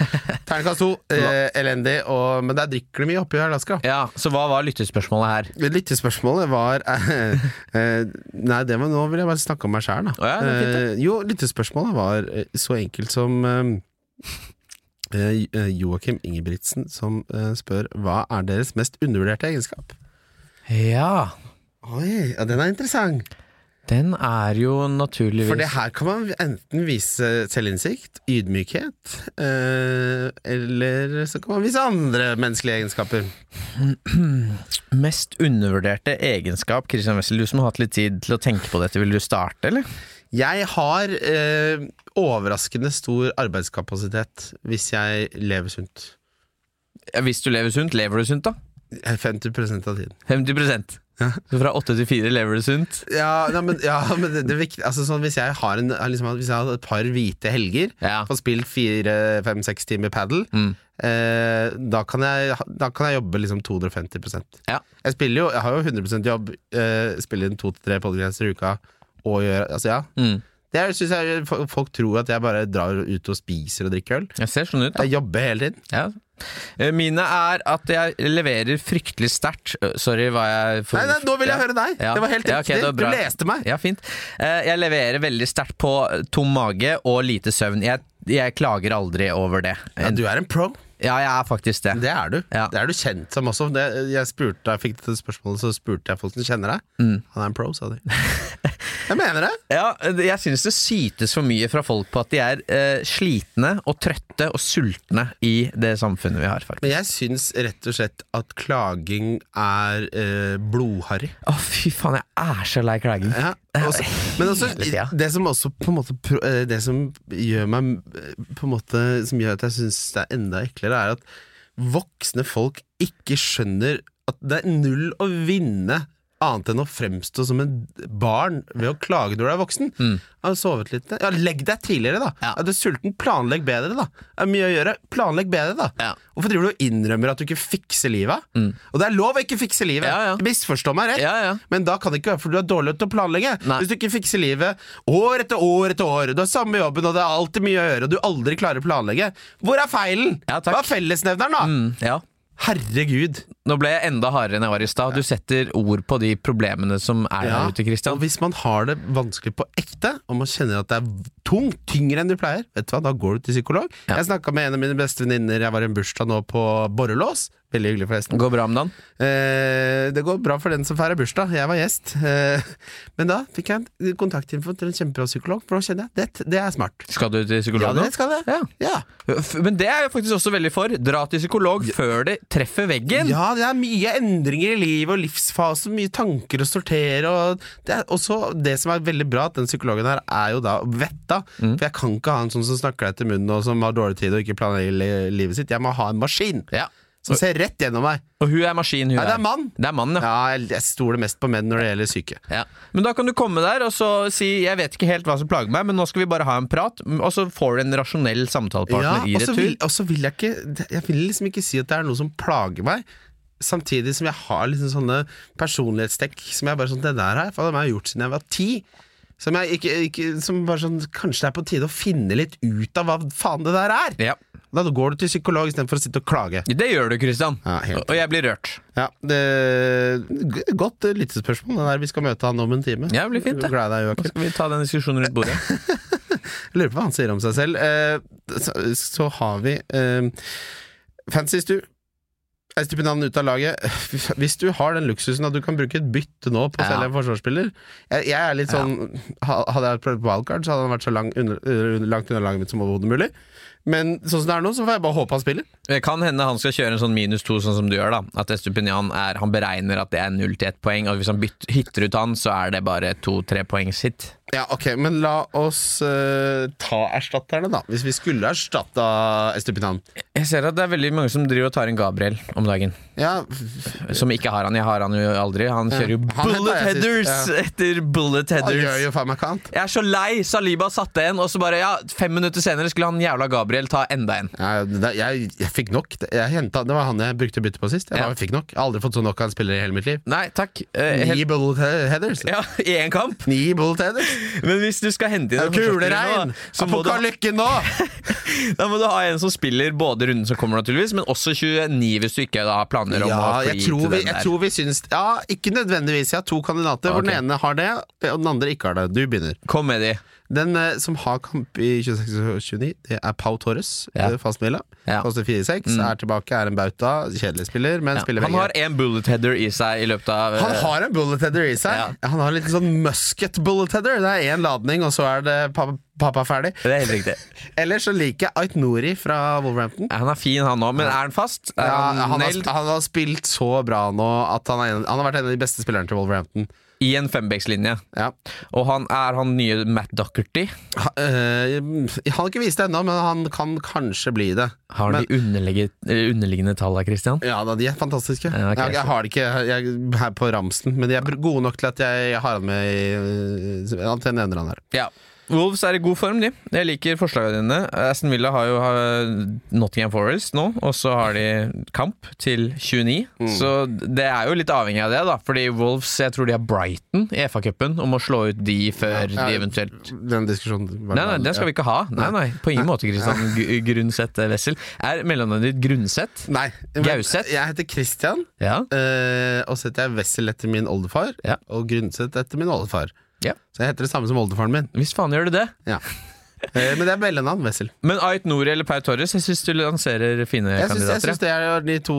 Terningkast to. Eh, elendig. Og, men der drikker de mye oppe i Alaska.
Ja, Så hva var lyttespørsmålet her?
Lyttespørsmålet var eh, eh, Nei, det var, nå vil jeg bare snakke om meg sjæl, da.
Å ja, det er fint,
Eh, jo, lyttespørsmålet var eh, så enkelt som eh, eh, Joakim Ingebrigtsen som eh, spør hva er deres mest undervurderte egenskap?
Ja,
Oi, ja, den er interessant.
den er jo naturligvis
For det her kan man enten vise selvinnsikt, ydmykhet, eh, eller så kan man vise andre menneskelige egenskaper.
Mest undervurderte egenskap, Christian Wessel, du som har hatt litt tid til å tenke på dette, vil du starte, eller?
Jeg har eh, overraskende stor arbeidskapasitet hvis jeg lever sunt.
Ja, Hvis du lever sunt, lever du sunt, da?
50 av tiden.
50 Så fra åtte til fire lever du sunt?
Ja, nei, men, ja, men det, det er viktig, altså, sånn, hvis, jeg har en, liksom, hvis jeg har et par hvite helger,
Ja.
får spilt fire-fem-seks timer padel,
Mm.
eh, da, kan jeg, ha- da kan jeg jobbe liksom 250
Ja.
Jeg spiller jo, jeg har jo 100 jobb, eh, spiller inn to til tre podcaster i uka, og gjør Altså, ja.
Mm.
Det er- synes jeg, fo- folk tror at jeg bare drar ut og spiser og drikker øl.
Jeg ser sånn ut, da.
Jeg jobber hele tiden.
Ja. Eh, Mine er at jeg leverer fryktelig sterkt. Eh, Sorry, hva jeg for...
Nei, nei, nå vil jeg høre deg!
Ja.
Det var helt riktig.
Ja, ok, det var
du
bra.
leste meg.
Ja, fint. Eh, Jeg leverer veldig sterkt på tom mage og lite søvn. Jeg, jeg klager aldri over det.
Ja, du er en pro.
Ja, jeg er faktisk det.
Det er du.
Ja.
Det er du kjent som også. Det, jeg spurte, da jeg fikk dette spørsmålet, så spurte jeg folk som kjenner deg.
Mm.
Han er en pro, sa de. Jeg mener det.
Ja, jeg syns det sytes for mye fra folk på at de er eh, slitne og trøtte og sultne i det samfunnet vi har, faktisk.
Men jeg syns rett og slett at klaging er eh, blodharry.
Å, fy faen, jeg er så lei klaging.
Ja, også, men også,
Hele tida.
det som også på en måte pro- eh, Det som gjør meg eh, På en måte Som gjør at jeg syns det er enda eklere, er at voksne folk ikke skjønner at det er null å vinne annet enn å fremstå som en barn ved å klage når du er voksen. Har du sovet litt? Ja, legg deg tidligere, da.
Mm. Ja.
Er du sulten? Planlegg bedre, da. Er mye å gjøre? Planlegg bedre, da.
Ja. Mm.
Hvorfor driver du og innrømmer at du ikke fikser livet? Og det er lov å ikke fikse livet!
Ja, ja.
Misforstå meg rett.
Ja, ja.
Men da kan det ikke være for du er dårlig til å planlegge.
Nei.
Hvis du ikke fikser livet år etter år etter år, du har samme jobben og det er alltid mye å gjøre, og du aldri klarer å planlegge, hvor er feilen?
Ja, takk.
Hva er fellesnevneren, da?
Mm, ja.
Herregud.
Nå ble jeg enda hardere enn jeg var i stad. Du setter ord på de problemene som er
Ja,
der ute,
Og
Christian.
hvis man har det vanskelig på ekte, og man kjenner at det er tungt, tyngre enn du pleier, vet du hva, da går du til psykolog.
Ja.
Jeg snakka med en av mine beste venninner, jeg var i en bursdag nå på Borrelås. Veldig hyggelig, forresten.
Går bra med dagen?
Eh, det går bra for den som feirer bursdag. Jeg var gjest. Eh, men da fikk jeg en kontaktinfo til en kjempebra psykolog, for nå kjenner jeg det, det er smart.
Skal du til
Ja,
psykolog nå?
det skal jeg.
Ja.
Ja.
F- Men det er jeg faktisk også veldig for. Dra til psykolog før det treffer veggen.
ja, det er mye endringer i livet og livsfase, mye tanker å sortere. Og det er også det som er veldig bra, at den psykologen her er jo da vetta.
Mm.
For jeg kan ikke ha en sånn som snakker deg til munnen og som har dårlig tid og ikke planlegger li- livet sitt. Jeg må ha en maskin
Ja.
som ser rett gjennom meg.
Og hun er maskin, hun
Nei, det er mann.
Det er mann, ja.
Ja, jeg, jeg stoler mest på menn når det gjelder syke.
Ja. Men da kan du komme der og så si 'jeg vet ikke helt hva som plager meg', men nå skal vi bare ha en prat, og så får du en rasjonell samtalepartner i
og så
retur.
vil, og så vil jeg ikke Jeg vil liksom ikke si at det er noe som plager meg. Samtidig som jeg har liksom sånne personlighetstrekk som jeg bare sånn Det der har jeg faen meg gjort siden jeg var ti. Som, jeg ikke, ikke, som bare sånn Kanskje det er på tide å finne litt ut av hva faen det der er!
Ja.
Da går du til psykolog istedenfor å sitte og klage.
Det gjør du, Christian.
Ja, helt.
og jeg blir rørt.
Ja, det, g- Godt eh, lyttespørsmål. Det der vi skal møte han om en time.
Ja, det blir fint, det.
Gleder deg, Joakim.
Skal vi ta den diskusjonen rundt bordet?
Jeg lurer på hva han sier om seg selv. Eh, så, så har vi eh, Fancy Stu. Jeg stupper navnet ut av laget. Hvis du har den luksusen at du kan bruke et bytte nå på å
Ja.
selge en forsvarsspiller jeg, jeg er litt sånn ha- Hadde jeg prøvd wildcard, så hadde han vært så lang, under, under, langt unna laget mitt som overhodet mulig. Men sånn som det er nå, så får jeg bare håpe han spiller.
Det kan hende han skal kjøre en sånn minus to, sånn som du gjør. da At Estupinian er, han beregner at det er null til ett poeng, og hvis han bytter, hitter ut han, så er det bare to-tre poengs hit.
Ja, ok, Men la oss eh, ta erstatterne, da. Hvis vi skulle erstatta Estupinan.
Jeg ser at det er veldig mange som driver og tar en Gabriel om dagen.
Ja,
Som ikke har han. Jeg har han jo aldri. Han kjører jo
Han hentet
bullet
jeg sist,
headers etter bullet
han gjør
headers.
jo faen meg kant.
Jeg er så lei! Saliba satte en, og så bare ja, fem minutter senere skulle han jævla Gabriel ta enda en.
Ja, det, jeg, jeg fikk nok. Det- Jeg hentet, det var han jeg brukte bytte på sist. Jeg
Ja.
bare fikk nok. Jeg har aldri fått så nok av en spiller i hele mitt liv.
Nei, takk. Eh,
Ni
helt,
bullet he- headers.
ja, I én kamp.
Ni bullet headers.
Men hvis du skal hente inn en forsvarsspiller
Kuleregn!
nå, så må du ha-
Apokalykken nå!
Da må du ha en som spiller både runden som kommer, naturligvis, men også 29 hvis du ikke da har planer om
Ja,
å fly
jeg tror
til
vi,
den
jeg
der.
tror vi syns Ja, ikke nødvendigvis. Jeg har to kandidater hvor den
Ok.
ene har det, og den andre ikke har det. Du begynner.
Kom med de.
Den eh, som har kamp i 26 og 29, det er Pau Torres.
Ja.
eh, Fast Mila.
Ja. Mm.
Koster 4-6. Er tilbake, er en bauta. Kjedelig spiller, men
Ja.
spiller
Han
begge.
har én bullet header i seg i løpet av
Han
eh,
har en bullet header i seg.
Ja.
Han har en liten sånn musket bullet header. Det er én ladning, og så er det pappa, pappa ferdig.
eh, Det er helt riktig.
Ellers så liker jeg Ait Nouri fra Wolverhampton.
Han er fin, han òg, men er han fast? Er
Ja,
han,
han, har,
nailed?
han har spilt så bra nå at han, er en, han har vært en av de beste spillerne til Wolverhampton.
I en fembackslinje.
Ja.
Og han er han nye Matt Docherty.
Ha, øh, han har ikke vist det ennå, men han kan kanskje bli det.
Har han
Men-
de underliggende, underliggende tallene, Christian?
Ja da, de er fantastiske.
Ja, ok,
jeg, jeg har det ikke jeg, her på ramsen, men de er gode nok til at jeg, jeg har han med i øh, At jeg nevner han her.
Ja. Wolves er i god form, de. Jeg liker forslagene dine. Aston Villa har jo har Nottingham Forest nå, og så har de kamp til 29. Så det er jo litt avhengig av det, da. Fordi Wolves, jeg tror de har Brighton i FA-cupen, om å slå ut de før
Ja,
de eventuelt
Den diskusjonen
Nei, nei, den skal vi ikke ha. Nei, nei, På ingen måte, Kristian Grunnsett eh, Wessel. Er mellomnavnet ditt Grunnsett?
Nei. men
Gauseth?
Jeg heter Christian.
Ja.
Eh, og så heter jeg Wessel etter min oldefar,
Ja.
og Grundset etter min oldefar.
Ja.
Så jeg heter det samme som oldefaren min.
Hvis faen gjør du det.
Ja. Eh, men det er mellomnavn, Wessel.
Men Ait Nouri eller Pau Torres, jeg syns du lanserer fine
Jeg syns,
kandidater.
jeg
ja.
syns det er de to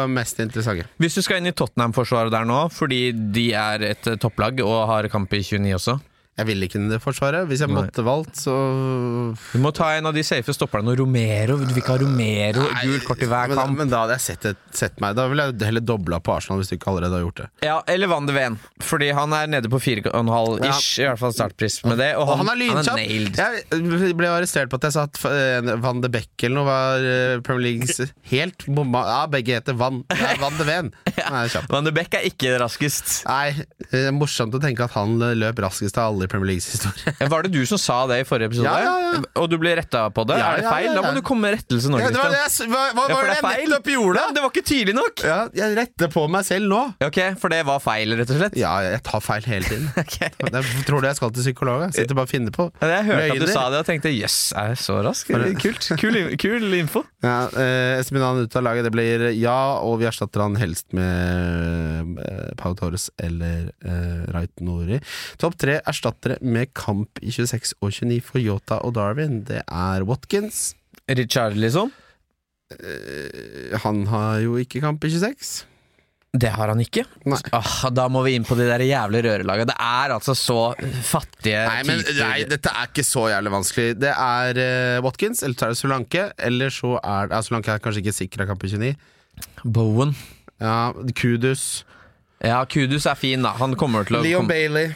eh, mest interessante.
Hvis du skal inn i Tottenham-forsvaret der nå, fordi de er et eh, topplag og har kamp i 29 også
Jeg ville ikke det forsvaret. Hvis jeg
Nei.
måtte valgt, så
Du må ta en av de safe stopperne og Romero. Du vil ikke ha Romero
Nei,
gult kort i hver
men,
kamp.
Men da hadde jeg sett, et, sett meg. Da ville jeg heller dobla på Arsenal, hvis du ikke allerede har gjort det.
Ja, Eller Van de Ven, fordi han er nede på 4,5 ish. I hvert fall startpris med det. Og
Og
han,
han er lynkjapp!
nailed.
Jeg ble arrestert på at jeg sa at eh, Van de Beck eller noe var eh, Premier Leagues helt bomma Ja, begge heter Van. Det er Van de Ven. Han er kjapp.
Van de Beck er ikke raskest.
Nei, det er morsomt å tenke at han løp raskest av alle i Premier Leagues historie.
Var det du som sa det i forrige episode?
Ja, ja, ja.
Og du ble retta på det?
Ja,
er det
ja,
feil?
ja,
Da
ja.
må du komme med rettelse nå. Christian.
jeg, hva, hva
Ja, for det er feil. Ja, det var ikke tydelig nok!
Ja, jeg retter på meg selv nå.
Ok, For det var feil, rett og slett?
Ja, jeg tar feil hele tiden.
Ok.
Jeg tror du jeg skal til psykolog? Jeg sitter bare og finner på.
Ja, Jeg hørte at du
Løgner.
sa det og tenkte jøss, er jeg så rask? Kult. Kul, in- kul info.
Ja, eh, Espenan ut av laget, det blir ja, og vi erstatter han helst med eh, Pau Torres eller eh, Rait Nori. Topp tre erstattere med kamp i 26 og 29 for Yota og Darwin. Det er Watkins.
liksom. Richarlison.
Han har jo ikke kamp i 26.
Det har han ikke.
Nei.
Ah, da må vi inn på de der jævlig rørelaga. Det er altså så fattige
Nei, men
typer.
nei, dette er ikke så jævlig vanskelig. Det er eh, Watkins, eller så er det Solanke. Eller så er det ja, Solanke er kanskje ikke sikker av kamp i 29.
Bowen.
Ja, Kudus.
Ja, Kudus er fin, da. Han kommer til å
Leon
komme-
Bailey.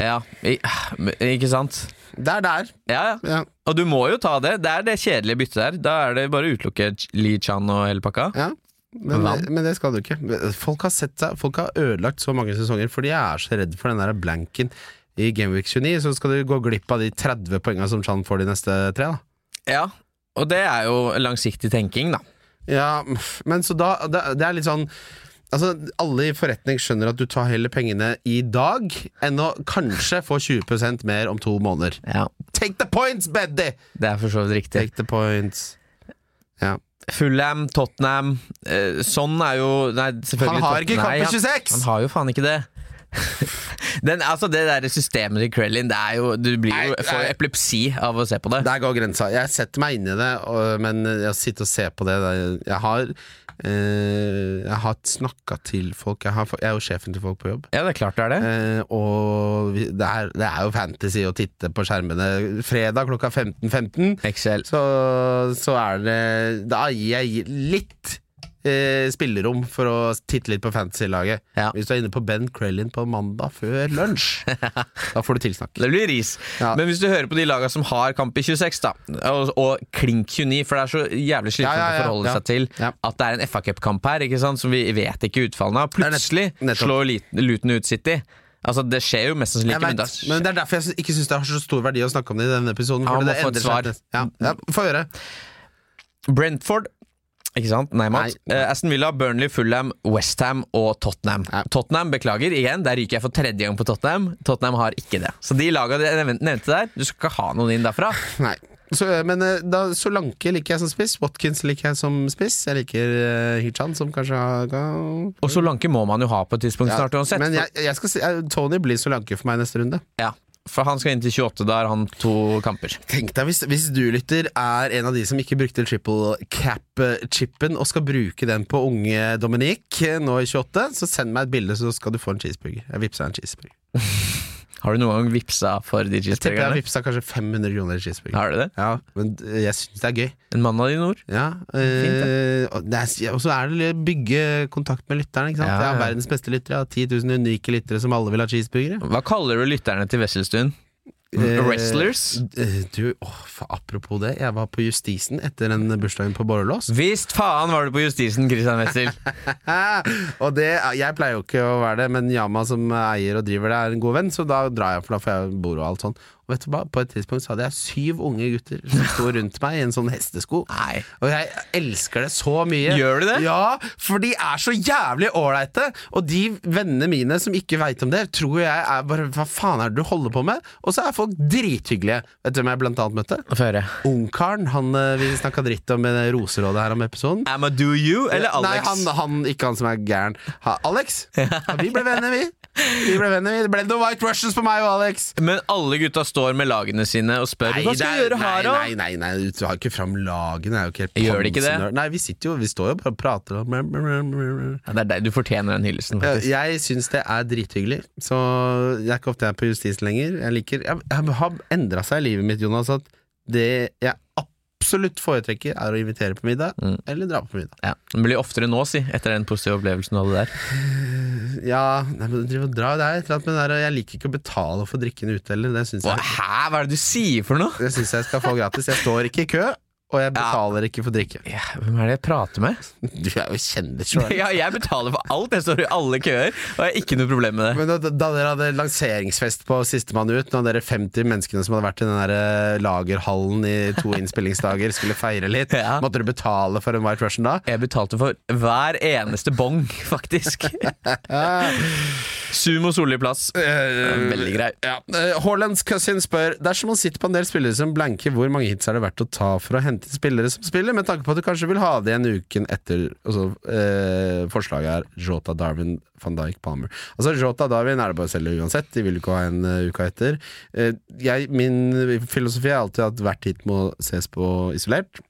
ja, i, men- Ikke sant?
Det er der.
Ja, ja.
Ja.
Og du må jo ta det. Det er det kjedelige byttet der. Da er det bare å utelukke Lee Chan og hele pakka.
ja. Men, eh,
Hva?
men det skal du ikke. Folk har, sett seg, folk har ødelagt så mange sesonger fordi jeg er så redd for den der blanken i Gameweek 29. Så skal du gå glipp av de 30 poengene som Chan får de neste tre. da
Ja, og det er jo langsiktig tenking, da.
Ja, men så da Det, det er litt sånn Altså, Alle i forretning skjønner at du tar heller pengene i dag enn å kanskje få 20 mer om to måneder.
Ja,
Take the points, Beddy!
Det er for så vidt riktig.
Take the points. Ja.
Fulham, Tottenham eh, Sånn er jo Nei, selvfølgelig
Han har ikke
Tottenham-
kamp i
Nei, han-
26!
Han har jo faen ikke det. Den, altså Det der systemet til Krellin, det er jo Du blir jo,
Nei,
får jo
nei.
epilepsi av å se på det.
Der går grensa. Jeg setter meg inn i det, og, men å sitte og se på det det- Jeg har eh, Jeg har snakka til folk. Jeg, har, jeg er jo sjefen til folk på jobb.
Ja, det er klart det er det.
Eh, og vi, det, er, det er jo fantasy å titte på skjermene. Fredag klokka 15.15
Excel.
så, så er det Da gir jeg litt eh, spillerom for å titte litt på fantasy-laget.
Ja.
Hvis du er inne på Ben Crellin på mandag før lunsj, da får du tilsnakk.
Det blir ris.
Ja.
Men hvis du hører på de laga som har kamp i 26, da, og, og klink 29, for det er så jævlig slitsomt
Ja, ja, ja,
å forholde
ja.
seg til
Ja.
at det er en FA-cupkamp her, ikke sant, som vi vet ikke utfallene av.
er nett-
Plutselig
nettopp.
slår lit- Luton ut City. Altså, det skjer jo mest sannsynlig
Jeg
ikke, men
vet,
da
men Det er derfor jeg sy- ikke syns det har så stor verdi å snakke om det i denne episoden.
Ja, man
fordi
må
det
få et
endrer
svar.
seg nest- Ja, ja, Få høre.
Brentford ikke sant? Nei, Mats.
Nei.
Eh, Aston Villa, Burnley, Fulham, Westham og Tottenham.
Ja.
Tottenham, beklager igjen, der ryker jeg for tredje gang på Tottenham. Tottenham har ikke det. Så de laga jeg nevn- nevnte der, du skal ikke ha noen inn derfra.
Nei. Så, eh, men eh, da, Solanke liker jeg som spiss. Watkins liker jeg som spiss. Jeg liker uh, Hichan, som kanskje har ga-
Og Solanke må man jo ha på et tidspunkt
ja.
snart uansett.
Men
for-
jeg, jeg skal si, eh, Tony blir Solanke for meg neste runde.
Ja, for han skal inn til 28, da har han to kamper.
Tenk deg hvis, hvis du lytter er en av de som ikke brukte triple cap-chipen og skal bruke den på unge Dominique eh, nå i 28, så send meg et bilde, så skal du få en cheeseburger. Jeg vippsa en cheeseburger.
Har du noen gang vippsa for de
Jeg tipper jeg
cheeseburgerne?
vippsa kanskje 500 kroner i cheeseburger.
Har du det?
Ja, men eh, jeg syns det er gøy.
En mann av dine ord?
Ja, eh, og det er- og så er det å bygge kontakt med lytteren. Ikke sant?
Ja,
Jeg har
ja.
verdens beste lyttere. Jeg har 10 000 unike lyttere som alle vil ha cheeseburgere.
Hva kaller du lytterne til Wesselstuen? Wrestlers?
Eh, Du, åh, fa- Apropos det, jeg var på Justisen etter den bursdagen på Borrelås.
Visst faen var du på Justisen, Christian Wessel!
Hæ? Og det, jeg pleier jo ikke å være det, men Yama som eier og driver det, er en god venn, så da drar jeg, for da får jeg bord og alt sånn. Og vet du hva, på et tidspunkt så hadde jeg syv unge gutter som sto rundt meg i en sånn hestesko.
Nei.
Og jeg elsker det så mye.
Gjør du det?
Ja, for de er så jævlig ålreite. Og de vennene mine som ikke veit om det, tror jeg er bare Hva faen er det du holder på med? Og så er folk drithyggelige. Vet du hvem jeg blant annet møtte?
Få høre.
Ungkaren. Han eh, vi snakka dritt om i det Roserådet her om episoden.
Am I do you eller Alex?
Nei, han, han, ikke han som er gæren. Ha, Alex! Ja, vi ble venner, vi. Vi ble venner, vi. Det ble noen White Russians på meg og Alex.
Men alle gutta står med lagene sine og spør hva skal vi
det er-
gjøre her, da?
nei, nei, nei, nei, du tar ikke fram lagene. det Er jo ikke helt
Gjør de ikke det?
pansenør. Nei, vi sitter jo, vi står jo bare og prater. Og
Ja, det er deg. Du fortjener den hyllesten,
jeg,
faktisk.
jeg syns det er drithyggelig. Så det er ikke ofte jeg er på justis lenger. Jeg, liker, jeg, jeg har endra seg i livet mitt, Jonas. At det jeg absolutt foretrekker, er å invitere på middag, eller dra på middag.
Ja. Den blir oftere nå, si, etter den positive opplevelsen du hadde der.
Ja, nei, men driv og dra, det er et eller annet med det der, og jeg liker ikke å betale for drikken ute heller. Det syns
Hva,
jeg,
hæ, hva er det du sier for noe?
det synes jeg skal få gratis. Jeg står ikke i kø, og jeg betaler ikke for drikke.
Ja, hvem er det jeg prater med?
Du er jo kjendis, sjøl.
Ja, jeg betaler for alt. Jeg står i alle køer, og jeg har ikke noe problem med det.
Men da, da dere hadde lanseringsfest på Sistemann ut, når dere 50 menneskene som hadde vært i den der eh, lagerhallen i to innspillingsdager, skulle feire litt,
Ja.
måtte dere betale for en White Russian da?
Jeg betalte for hver eneste bong, faktisk. Sumo Solli plass. Veldig grei.
Ja. Eh, Haalands cousin spør Dersom man sitter på en del spillere som blanker, hvor mange hits er det verdt å ta for å hente spillere som spiller, med tanke på at du kanskje vil ha det igjen uken etter altså, eh, Forslaget er Jota Darwin, van Dijk, Palmer. Altså Jota Darwin er det bare å selge uansett, de vil ikke ha en eh, uka etter. Eh, jeg, min filosofi er alltid at hvert hit må ses på isolert.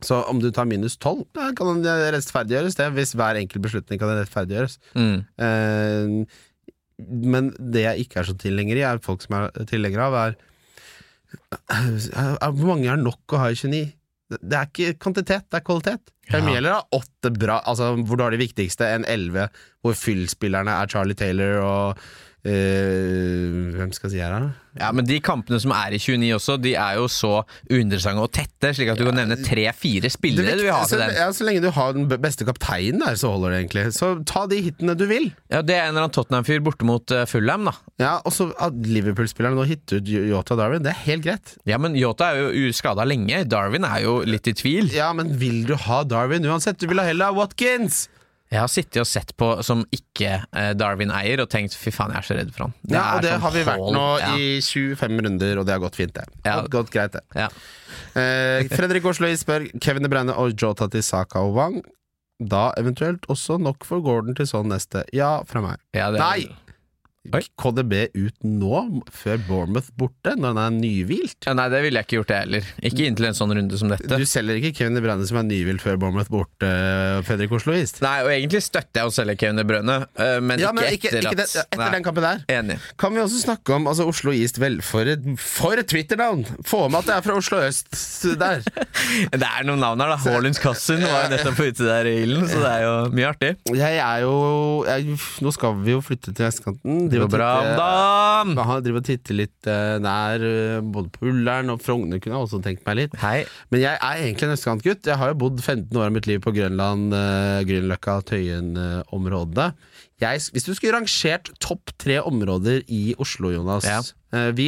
Så om du tar minus 12, da kan den rettferdiggjøres. Det er hvis hver enkelt beslutning kan rettferdiggjøres.
Mm.
Eh, men det jeg ikke er så tilhenger i, er folk som er tilhengere av, er eh, Hvor mange er nok å ha i 29? Det det er ikke kvantitet, det er kvalitet. Herr Mjeller har åtte bra, altså hvor du har de viktigste, en elleve hvor fyllspillerne er Charlie Taylor og eh, Hvem skal jeg si her, da?
Ja, Men de kampene som er i 29 også, de er jo så uinteressante og tette, slik at du kan nevne tre-fire spillere
altså, Det
du vil ha til den.
viktigste- Ja, så lenge du har den b- beste kapteinen der, så holder det egentlig. Så ta de hitene du vil.
Ja, Det er en eller annen Tottenham-fyr borte mot eh, Fulham, da.
Ja, og så at Liverpool-spillerne nå hitter ut Yota Darwin, det er helt greit.
Ja, men Yota er jo skada lenge. Darwin er jo litt i tvil.
Ja, men vil du ha Darwin uansett? Du vil ha heller ha Watkins!
Jeg har sittet og sett på som ikke eh, Darwin-eier og tenkt fy faen, jeg er så redd for han.
Ja, og det
er sånn
har vi vært
hold-
nå
ja.
i 25 runder, og det har gått fint, det.
Ja.
Gått, gått greit, det.
ja.
Eh, Fredrik Osløy spør Kevin De Bruyne og Jota til Saka og Wang. Da eventuelt også nok for Gordon til sånn neste. Ja, fra meg.
Ja, det er-
Nei!
Oi.
KDB ut nå, før Bournemouth borte, når han er nyhvilt.
Ja, Nei, det ville jeg ikke gjort, jeg heller. Ikke inntil en sånn runde som dette.
Du selger ikke Kevin De Bruyne som er nyhvilt før Bournemouth borte, Fredrik Osloist.
Nei, og egentlig støtter jeg å selge Kevin De Brønne, eh, men,
Ja, men
ikke etter
ikke
at
det, etter
Nei.
den kampen der.
Enig.
Kan vi også snakke om altså, Oslo East vel for et, for et Twitter-navn! Få med at det er fra Oslo øst der.
Det er noen navn her, da. Haalunds Kassen var jo nettopp ute der i ilden, så det er jo mye artig.
Jeg er jo jeg, Nå skal vi jo flytte til vestkanten.
Det
Driver
går bra om dagen!
Han driver og titter litt eh, nær eh, både på Ullern og Frogner, kunne jeg også tenkt meg litt.
Hei.
Men jeg er egentlig en østkantgutt. Jeg har jo bodd 15 år av mitt liv på Grønland, eh, Grünerløkka, Tøyen-området. Jeg, hvis du skulle rangert topp tre områder i Oslo, Jonas
Ja.
eh, vi,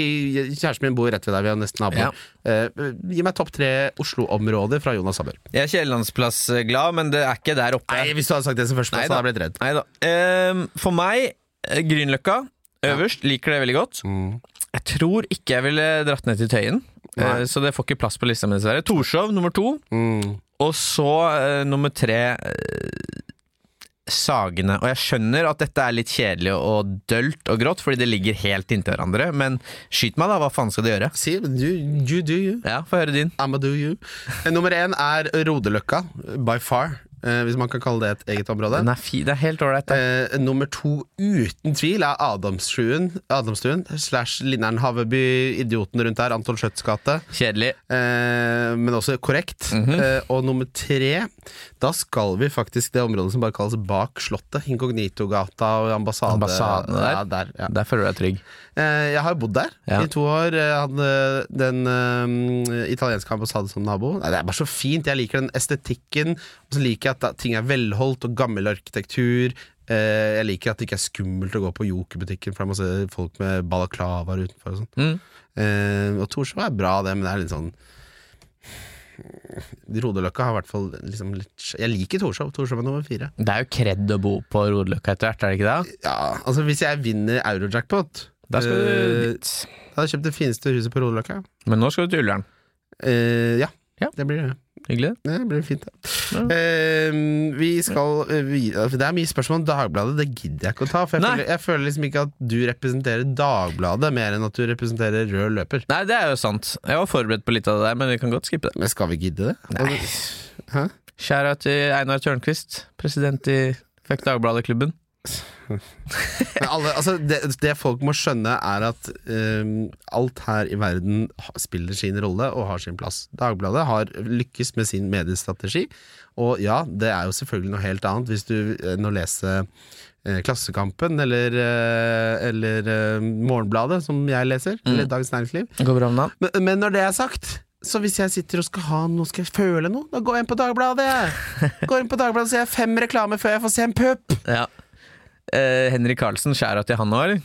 Kjæresten min bor rett ved deg, vi er nesten naboer. Eh, gi meg topp tre Oslo-områder fra Jonas Hammer.
Jeg er Kiellandsplass-glad, men det er ikke der oppe.
Nei, hvis du hadde sagt det som
Nei
førsteplass,
da.
hadde jeg blitt redd.
Neida. Ehm, for meg, eh, Grünerløkka øverst. Liker det veldig godt.
Mm,
Jeg tror ikke jeg ville dratt ned til Tøyen, eh, så det får ikke plass på lista mi, dessverre. Torshov nummer to.
mm.
Og så eh, nummer tre eh, Sagene. Og jeg skjønner at dette er litt kjedelig og dølt og grått, fordi det ligger helt inntil hverandre, men skyt meg, da. Hva faen skal de gjøre?
Si, you, you do you.
Ja, Få høre din.
I'mma do you. Eh, Nummer én er Rodeløkka, by far. eh, hvis man kan kalle det et eget område.
Den er fi, det er helt ålreit. da.
Eh, nummer to uten tvil er Adamstuen, Adamstuen slash Linnern Haveby, idioten rundt der, Anton Schjøtts gate.
Kjedelig.
Eh, men også korrekt. eh, og nummer tre, da skal vi faktisk det området som bare kalles Bak Slottet. Inkognitogata og ambassade,
Ambassadene der.
Ja, der ja.
Der føler du deg trygg.
Eh, jeg har jo bodd der
Ja.
i to år. Jeg hadde den eh, italienske ambassaden som nabo. Nei, det er bare så fint. Jeg liker den estetikken. Og så liker jeg at da, ting er velholdt og gammel arkitektur. Eh, jeg liker at det ikke er skummelt å gå på jokerbutikken, for det er masse folk med balaklavaer utenfor. Og,
Mm.
sånn. eh, og Torshov er bra, det, men det er litt sånn Rodeløkka har i hvert fall liksom litt Jeg liker Torshov. Torshov er nummer fire.
Det er jo kred å bo på Rodeløkka etter hvert, er det ikke det?
Ja, altså Hvis jeg vinner Eurojackpot,
Da skal du
eh,
dit.
da hadde jeg kjøpt det fineste huset på Rodeløkka.
Men nå skal du til Ullern.
Eh, ja.
Ja.
det blir det.
Hyggelig. det.
Det blir fint, det. Eh, vi skal eh, vi- Det er mye spørsmål om Dagbladet, det gidder jeg ikke å ta. For jeg
Nei.
føler, jeg føler liksom ikke at du representerer Dagbladet mer enn at du representerer rød løper.
Nei, det er jo sant. Jeg var forberedt på litt av det der, men vi kan godt skippe det.
Men skal vi gidde det?
Nei.
Hæ?
Skjæra til Einar Tørnquist, president i Fuck Dagbladet-klubben.
Men alle, altså, det, det folk må skjønne, er at eh, alt her i verden ha- spiller sin rolle og har sin plass. Dagbladet har lykkes med sin mediestrategi, og ja, det er jo selvfølgelig noe helt annet hvis du eh, nå leser eh, Klassekampen eller, eh, eller eh, Morgenbladet, som jeg leser,
Mm.
eller Dagens Næringsliv.
Går bra med han?
Men, men når det er sagt så hvis jeg sitter og skal ha noe, skal jeg føle noe, da går jeg inn på Dagbladet. jeg. Går inn på Dagbladet og ser fem reklamer før jeg får se en pupp.
Ja. Eh, Henrik Karlsen, skjæra til han nå, eller?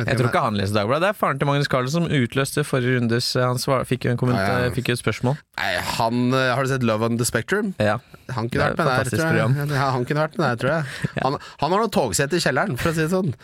Jeg tror ikke han leser Dagbladet. Det er faren til Magnus Carlsen som utløste forrige rundes eh, Han svar, fikk, jo en komment,
Ja, ja.
eh, fikk jo et spørsmål.
Nei, han, eh, Har du sett Love on the Spectrum?
Ja.
Han
Det
kunne
er et
vært med der,
fantastisk
tror jeg. Ja, han kunne vært med der, tror jeg. Han, han har noen togsett i kjelleren, for å si det sånn.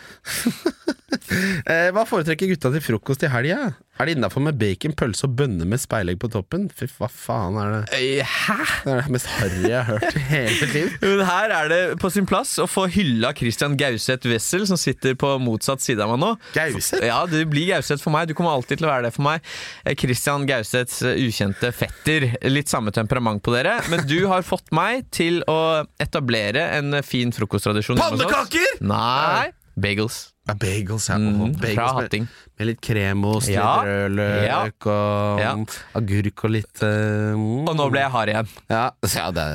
Eh, Hva foretrekker gutta til frokost i helga? Er det innafor med bacon, pølse og bønner med speilegg på toppen? Fy, hva faen er det?
Eh, Hæ?!
Det er det mest harry jeg har hørt i hele mitt liv.
Men her er det på sin plass å få hylla Christian Gauseth Wessel, som sitter på motsatt side av meg nå.
Gauseth?
Ja, du blir Gauseth for meg. Du kommer alltid til å være det for meg. Eh, Christian Gauseths eh, ukjente fetter. Litt samme temperament på dere, men du har fått meg til å etablere en fin frokosttradisjon. hjemme hos oss.
Pannekaker!
Nei. Bagels.
Ja, bagels, ja.
Mhm,
Åh, bagels
fra
med-
Hatting.
Med litt kremost, litt
Ja.
rødløk og
Ja.
agurk og litt eh, mm.
Og nå ble jeg hard igjen.
Ja, så ja det er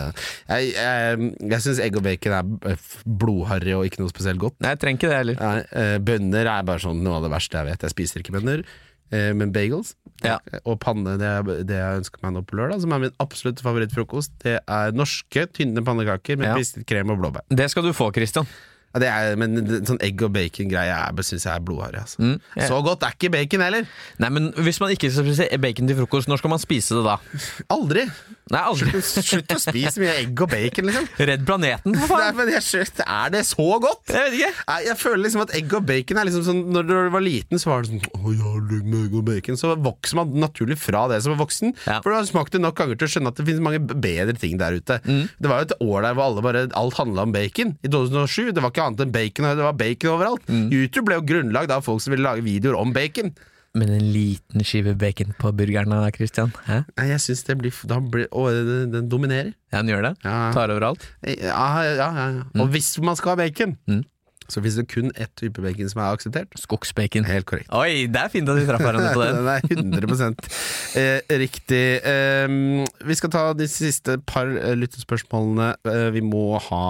Jeg, jeg, jeg syns egg og bacon er eh, f- blodharry og ikke noe spesielt godt.
Nei, jeg trenger ikke det heller.
Nei, eh, bønner er bare sånn noe av det verste jeg vet. Jeg spiser ikke bønner. Eh, Men bagels
Ja.
og panne, det er det jeg ønsker meg nå på lørdag, som er min absolutt favorittfrokost, det er norske, tynne pannekaker med
Ja.
pistet krem og blåbær.
Det skal du få, Christian.
Ja, det er, men det- sånn egg og bacon-greie syns jeg er blodharry. Altså.
Mm. ja.
Så godt er ikke bacon heller!
Nei, men Hvis man ikke skal spise bacon til frokost, når skal man spise det da?
Aldri!
Nei, aldri.
Slutt å spise mye egg og bacon, liksom.
Redd planeten, for
Nei,
faen!
men jeg, skjønner- er det så godt?
Jeg vet ikke.
Nei, jeg føler liksom at egg og bacon er liksom sånn Når du var liten, så var det sånn Å ja, legg med egg og bacon. Så vokser man naturlig fra det som er voksen.
Ja.
For du har smakt det nok ganger til å skjønne at det finnes mange b- bedre ting der ute. Det var jo et år der hvor alle bare alt handla om bacon. I 2007. Det var ikke annet enn bacon, og det var bacon overalt. YouTube ble jo grunnlagd av folk som ville lage videoer om bacon.
Men en liten skive bacon på burgeren da, Christian? Hæ?
Nei, jeg syns det blir f- da blir, Å, den, den dominerer.
Ja, den gjør det?
Ja.
Tar overalt?
Ja, ja, ja. ja. Og hvis man skal ha bacon, så finnes det kun ett type bacon som er akseptert.
Skogsbacon.
Helt korrekt.
Oi, det er fint at vi traff hverandre på den.
Den er 100 eh, riktig. Ehm, vi skal ta de siste par eh, lyttespørsmålene. Eh, vi må ha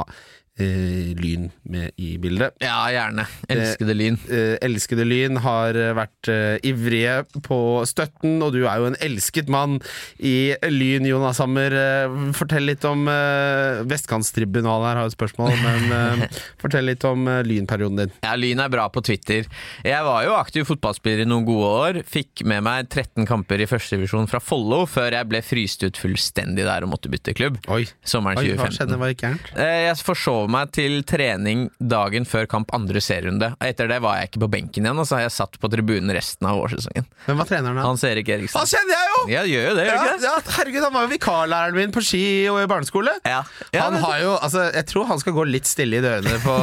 eh, lyn med i bildet.
Ja, gjerne. Elskede lyn.
Eh, elskede Lyn har eh, vært eh, ivrige på støtten, og du er jo en elsket mann i Lyn, Jonas Hammer. Eh, fortell litt om eh, Vestkantstribunalet her har et spørsmål, men eh, fortell litt om eh, Lynperioden din.
Ja, Lyn er bra på Twitter. Jeg var jo aktiv fotballspiller i noen gode år. Fikk med meg 13 kamper i førstedivisjon fra Follo før jeg ble fryst ut fullstendig der og måtte bytte klubb.
Oi,
Sommeren
Oi hva
2015.
skjedde? Var det gærent?
Eh, Jeg forsov meg til trening dagen før kamp andre serierunde. Etter det var jeg ikke på benken igjen, og så har jeg satt på tribunen resten av vårsesongen.
Hvem var treneren da?
Hans Erik Eriksen.
Han kjenner jeg jo!
Ja, gjør jo det, gjør
Ja,
ikke det?
ja, herregud, han var jo vikarlæreren min på ski og i barneskole.
Ja. Ja,
han
det-
har jo, altså, jeg tror han skal gå litt stille i dørene på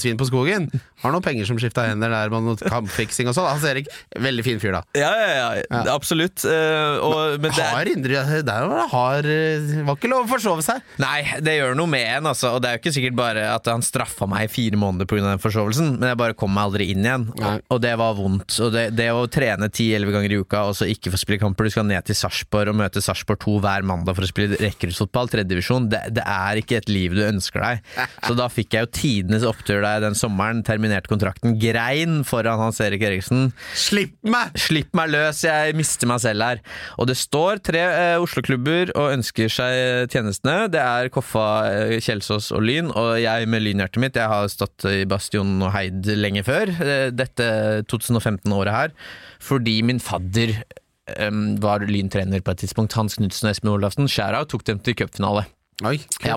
Svin på skogen. Har noen penger som skifta hender der med noe kampfiksing og sånn. Hans Erik, veldig fin fyr, da.
Ja, ja, ja, absolutt. Eh, og, men det er,
Har indre Der var det hard eh, Var ikke lov å forsove seg.
nei, det gjør noe med en, altså. Og det er jo ikke sikkert bare at han straffa meg i fire måneder pga. den forsovelsen, men jeg bare kom meg aldri inn igjen.
Nei.
Og, og det var vondt. Og det, det å trene 10-11 ganger i uka og så ikke få spille kamper, du skal ned til Sarpsborg og møte Sarpsborg 2 hver mandag for å spille rekkerhusfotball, tredjedivisjon, det, det er ikke et liv du ønsker deg. Så da fikk jeg jo tidenes opptur der den sommeren, terminerte kontrakten, grein foran Hans Erik Eriksen.
Slipp meg!
Slipp meg løs, jeg mister meg selv her. Og det står tre eh, Oslo-klubber og ønsker seg eh, tjenestene. Det er Koffa, eh, Kjelsås og Lyn. Og jeg med lynhjertet mitt, jeg har stått i Bastionen og Heid lenge før eh, dette 2015-året her. Fordi min fadder eh, var lyntrener på et tidspunkt. Hans Knutsen og Espen Olafsen, skjæra, tok dem til cupfinale.
Oi,
Ja,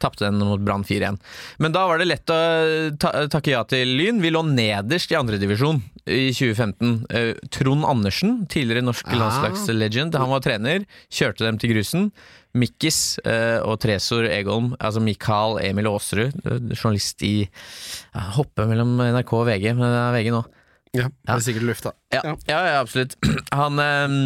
Tapte den mot Brann 4-1. Men da var det lett å ta takke ja til Lyn. Vi lå nederst i andredivisjon i 2015. Eh, Trond Andersen, tidligere norsk landslagslegend, han var trener. Kjørte dem til grusen. Mikkis eh, og Tresor Egholm, altså Mikael Emil Aasrud, eh, journalist i ja, Hopper mellom NRK og VG, men det er VG nå.
Ja, det er sikkert lufta.
Ja, ja. ja, absolutt. Han eh,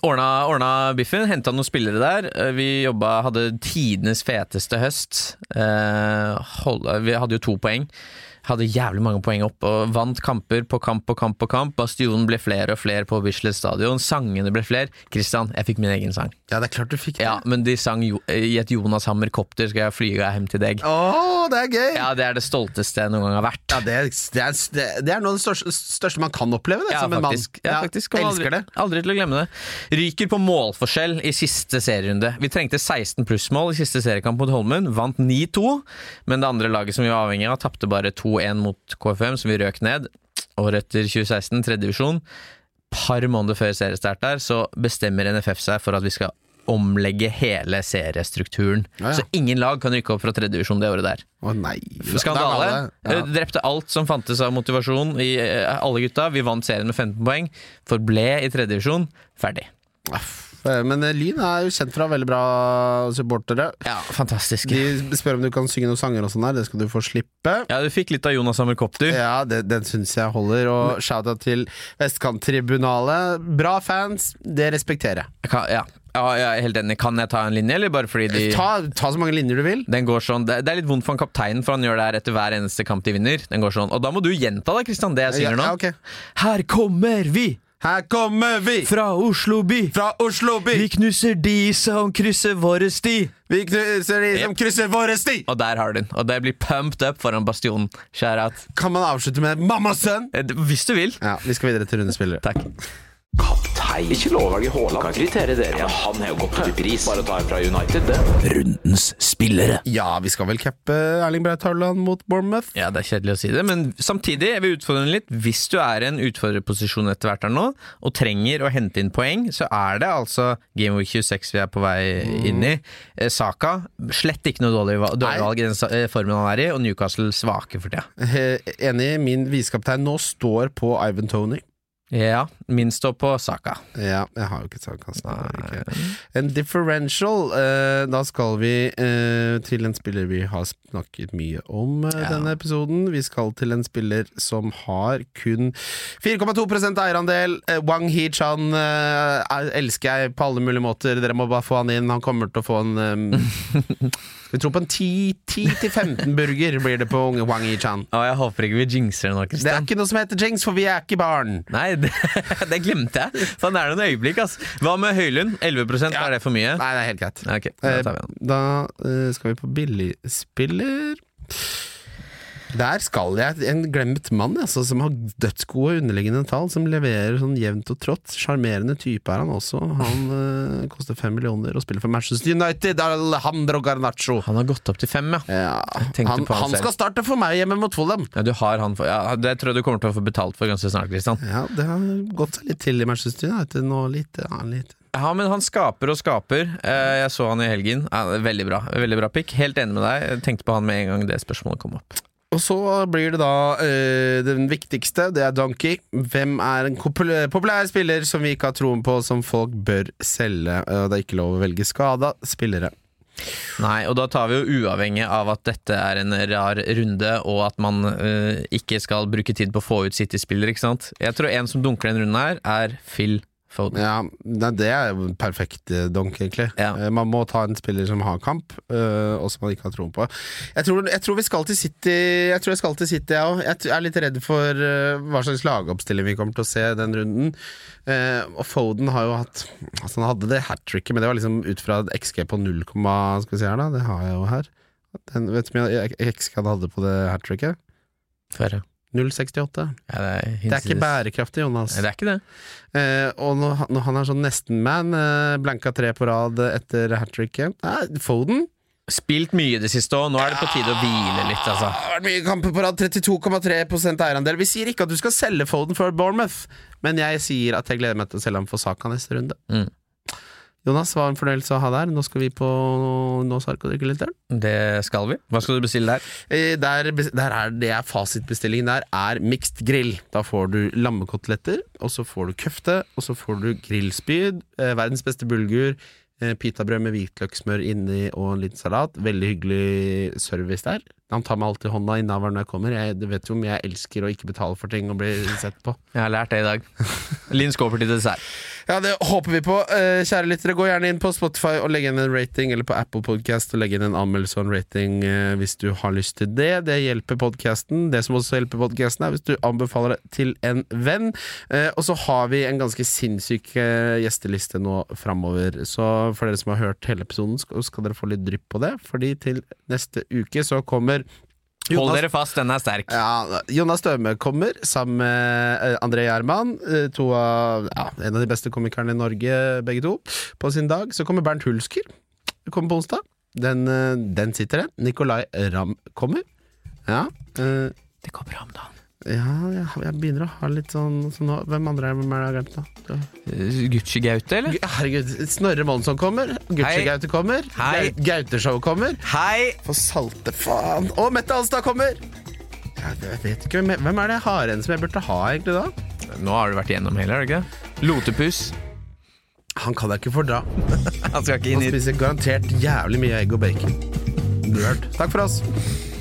ordna, ordna biffen, henta noen spillere der. Eh, Vi jobba, hadde tidenes feteste høst. Eh, hold, eh, vi hadde jo to poeng. Hadde jævlig mange poeng opp og vant kamper på kamp på kamp på kamp. Bastionen ble flere og flere på Bislett stadion. Sangene ble flere. Kristian, jeg fikk min egen sang.
Ja, det er klart du fikk det.
Ja, Men de sang jo, eh, i et Jonas Hammer-kopter skal jeg flyge hjem til deg.
Å, det er gøy! Ja.
Ja, Det er det stolteste jeg noen gang har vært.
det, er, det, er, det er noe av det største, største man kan oppleve, det, som en mann.
faktisk. Ja, faktisk. Kommer
elsker
aldri,
det.
Aldri til å glemme det. Ryker på målforskjell i siste serierunde. Vi trengte 16 plussmål i siste seriekamp mot Holmen. Vant 9-2, men det andre laget som vi var avhengig av, tapte bare 2-1 mot KFM, som vi røk ned. Året etter 2016, tredje divisjon. Par måneder før seriestart der, så bestemmer NFF seg for at vi skal omlegge hele seriestrukturen.
Ja, ja.
Så ingen lag kan rykke opp fra tredje divisjon det året der.
Å nei.
Skandale.
Det er
Eh, Drepte alt som fantes av motivasjon i eh, alle gutta. Vi vant serien med 15 poeng. Forble i tredje divisjon. Ferdig.
Ja. Aff. Eh, Men eh, Lyn er jo kjent for å ha veldig bra supportere.
Ja, fantastisk.
De spør om du kan synge noen sanger og sånn der. Det skal du få slippe.
Ja, du fikk litt av Jonas Hammer Kopp, du.
Ja, det, den syns jeg holder. Og shout-out til Vestkanttribunalet. Bra fans, det respekterer jeg.
Jeg Kan, ja. ja, jeg er helt enig. Kan jeg ta en linje, eller bare fordi de
Ta, ta så mange linjer du vil.
den går sånn, det, det er litt vondt for han kapteinen, for han gjør det her etter hver eneste kamp de vinner. Den går sånn, Og da må du gjenta det, Kristian, det jeg synger nå.
Ja, ja, ok.
Her kommer vi
Her kommer vi
fra Oslo by.
fra Oslo by!
Vi knuser de som krysser våre sti.
Vi knuser de som krysser våre sti!
Og der har du den. Og det blir pumped up foran Bastionen. Shout out.
Kan man avslutte med 'mamma og sønn'?
Eh, Hvis du vil.
Ja, Vi skal videre til rundespillere.
Takk.
Kaptein. Ikke lov å velge Haaland. Kan kritere dere. Ja, han har jo gått ut i pris. Bare ta en fra United, det. Rundens spillere.
Ja, vi skal vel cappe Erling Braut Haaland mot Bournemouth.
Ja, det er kjedelig å si det, men samtidig, jeg vil utfordre den litt. Hvis du er i en utfordrerposisjon etter hvert her nå, og trenger å hente inn poeng, så er det altså Game Week 26 vi er på vei inn i. Eh, Saka, slett ikke noe dårlig va- dårlig
Nei.
valg i den sa- eh, formen han er i, og Newcastle svake for tida.
Eh, Enig, min visekaptein nå står på Ivan Tony.
Ja, min står på Saka.
Ja, jeg har jo ikke sandkasse. det har jeg ikke. En differential. eh, da skal vi eh, til en spiller vi har snakket mye om eh,
Ja.
denne episoden. Vi skal til en spiller som har kun 4,2 eierandel. Eh, Wang Hee-chan eh, er- elsker jeg på alle mulige måter. Dere må bare få han inn. Han kommer til å få en eh, Vi tror på en 10-15 burger blir det på unge Wang Hee-chan.
Å, jeg håper ikke vi jinxer det nå,
Det er
Kristian.
ikke noe som heter jinx, for vi er ikke barn.
Nei, det, det glemte jeg. Sånn er det noen øyeblikk, ass. Hva med Høylund? 11 er det for mye?
Nei, det er helt greit.
Ok, da tar vi han.
Eh, Da eh, skal vi på billigspiller. Der skal jeg en glemt mann, altså, som har dødsgode underliggende tall. Som leverer sånn jevnt og trått. Sjarmerende type er han også. Han eh, koster fem millioner og spiller for Manchester United. Alejandro Garnaccio.
Han har gått opp til fem, ja.
Ja,
tenkte
han,
på Eh, han
han
selv.
skal starte for meg hjemme mot Fulham.
Ja, du har han for, ja, det tror jeg du kommer til å få betalt for ganske snart, Kristian.
Ja, det har gått seg litt til i Manchester United nå. Litt, ja, litt.
Ja, men han skaper og skaper. Eh, Jeg så han i helgen. Ja, det er Veldig bra veldig bra pikk. Helt enig med deg. Jeg tenkte på han med en gang det spørsmålet kom opp.
Og så blir det da eh, den viktigste, det er Donkey. Hvem er en popul- populær spiller som vi ikke har troen på, som folk bør selge? Eh, Og det er ikke lov å velge skada spillere.
Nei, og da tar vi jo uavhengig av at dette er en rar runde, og at man eh, ikke skal bruke tid på å få ut City-spillere, ikke sant. Jeg tror en som dunker den runden her, er Phil Foden.
Ja, nei, Det er jo en perfekt eh, donk, egentlig.
Ja.
Eh, Man må ta en spiller som har kamp, eh, og som man ikke har troen på. Jeg tror, jeg tror vi skal til City, jeg tror jeg skal til City, jeg òg. Jeg t- er litt redd for eh, hva slags lagoppstilling vi kommer til å se den runden. Eh, og Foden har jo hatt Altså Han hadde det hat tricket, men det var liksom ut fra et XG på 0, skal vi se her da, det har jeg jo her. Den, vet du hvor mye XG han hadde på det hat tricket?
Får jeg-
0,68.
Ja, det, er
Det er ikke bærekraftig, Jonas.
Nei, Det er ikke det.
Eh, og når, han- når han er sånn nesten-man, eh, blanka tre på rad eh, etter hat tricket Nei, Foden
Spilt mye i det siste òg. Nå er det på tide å hvile litt, altså.
Ah, Det har vært mye kamper på rad, 32,3 eierandel. Vi sier ikke at du skal selge Foden for Bournemouth, men jeg sier at jeg gleder meg til å selge ham for Saka neste runde.
Mm.
Jonas, hva en fornøyelse å ha deg her. Nå skal vi på Nåsark og drikke litt øl.
Det skal vi. Hva skal du bestille der?
Eh, Der, bes- der er det er fasitbestillingen der er mixed grill. Da får du lammekoteletter, og så får du køfte, og så får du grillspyd, eh, verdens beste bulgur, eh, pitabrød med hvitløkssmør inni og en liten salat. Veldig hyggelig service der. Han tar meg alltid hånda innaver når jeg kommer. Jeg, du vet jo om jeg elsker å ikke betale for ting og bli sett på.
Jeg har lært det i dag. Linn Skåper til dessert.
Ja, det håper vi på. Eh, Kjære lyttere, gå gjerne inn på Spotify og legge inn en rating, eller på Apple Podcast og legge inn en anmeldelse og en rating eh, hvis du har lyst til det. Det hjelper podkasten. Det som også hjelper podkasten, er hvis du anbefaler det til en venn. Eh, og så har vi en ganske sinnssyk eh, gjesteliste nå framover. Så for dere som har hørt hele episoden, skal, skal dere få litt drypp på det, fordi til neste uke så kommer
Hold
Jonas-
dere fast, den er sterk.
ja, Jonas Støme kommer sammen med eh, André Gjerman. eh, To av, ja, en av de beste komikerne i Norge, begge to. På sin dag. Så kommer Bernt Hulsker. Kommer på onsdag. Den, eh, den sitter, den. Nicolay Ramm kommer. Ja. eh,
Det går bra om dagen.
Ja, jeg, jeg begynner å ha litt sånn, sånn Hvem andre er hvem er det jeg har glemt, da?
Gucci-gaute, eller?
Gu- Herregud, Snorre Monsson kommer.
Hei.
Gucci-Gaute kommer.
Hei.
Gau- Gauteshow kommer.
Hei!
For salte faen! Og Mette Alstad kommer! Jeg vet- jeg vet ikke, hvem- Hvem er det haren som jeg burde ha, egentlig, da?
Nå har du vært igjennom hele, har du ikke? Lotepus.
Han kan jeg ikke fordra.
Han skal ikke
Han
inn i
spiser garantert jævlig mye egg og bacon. Nerd. Takk for oss.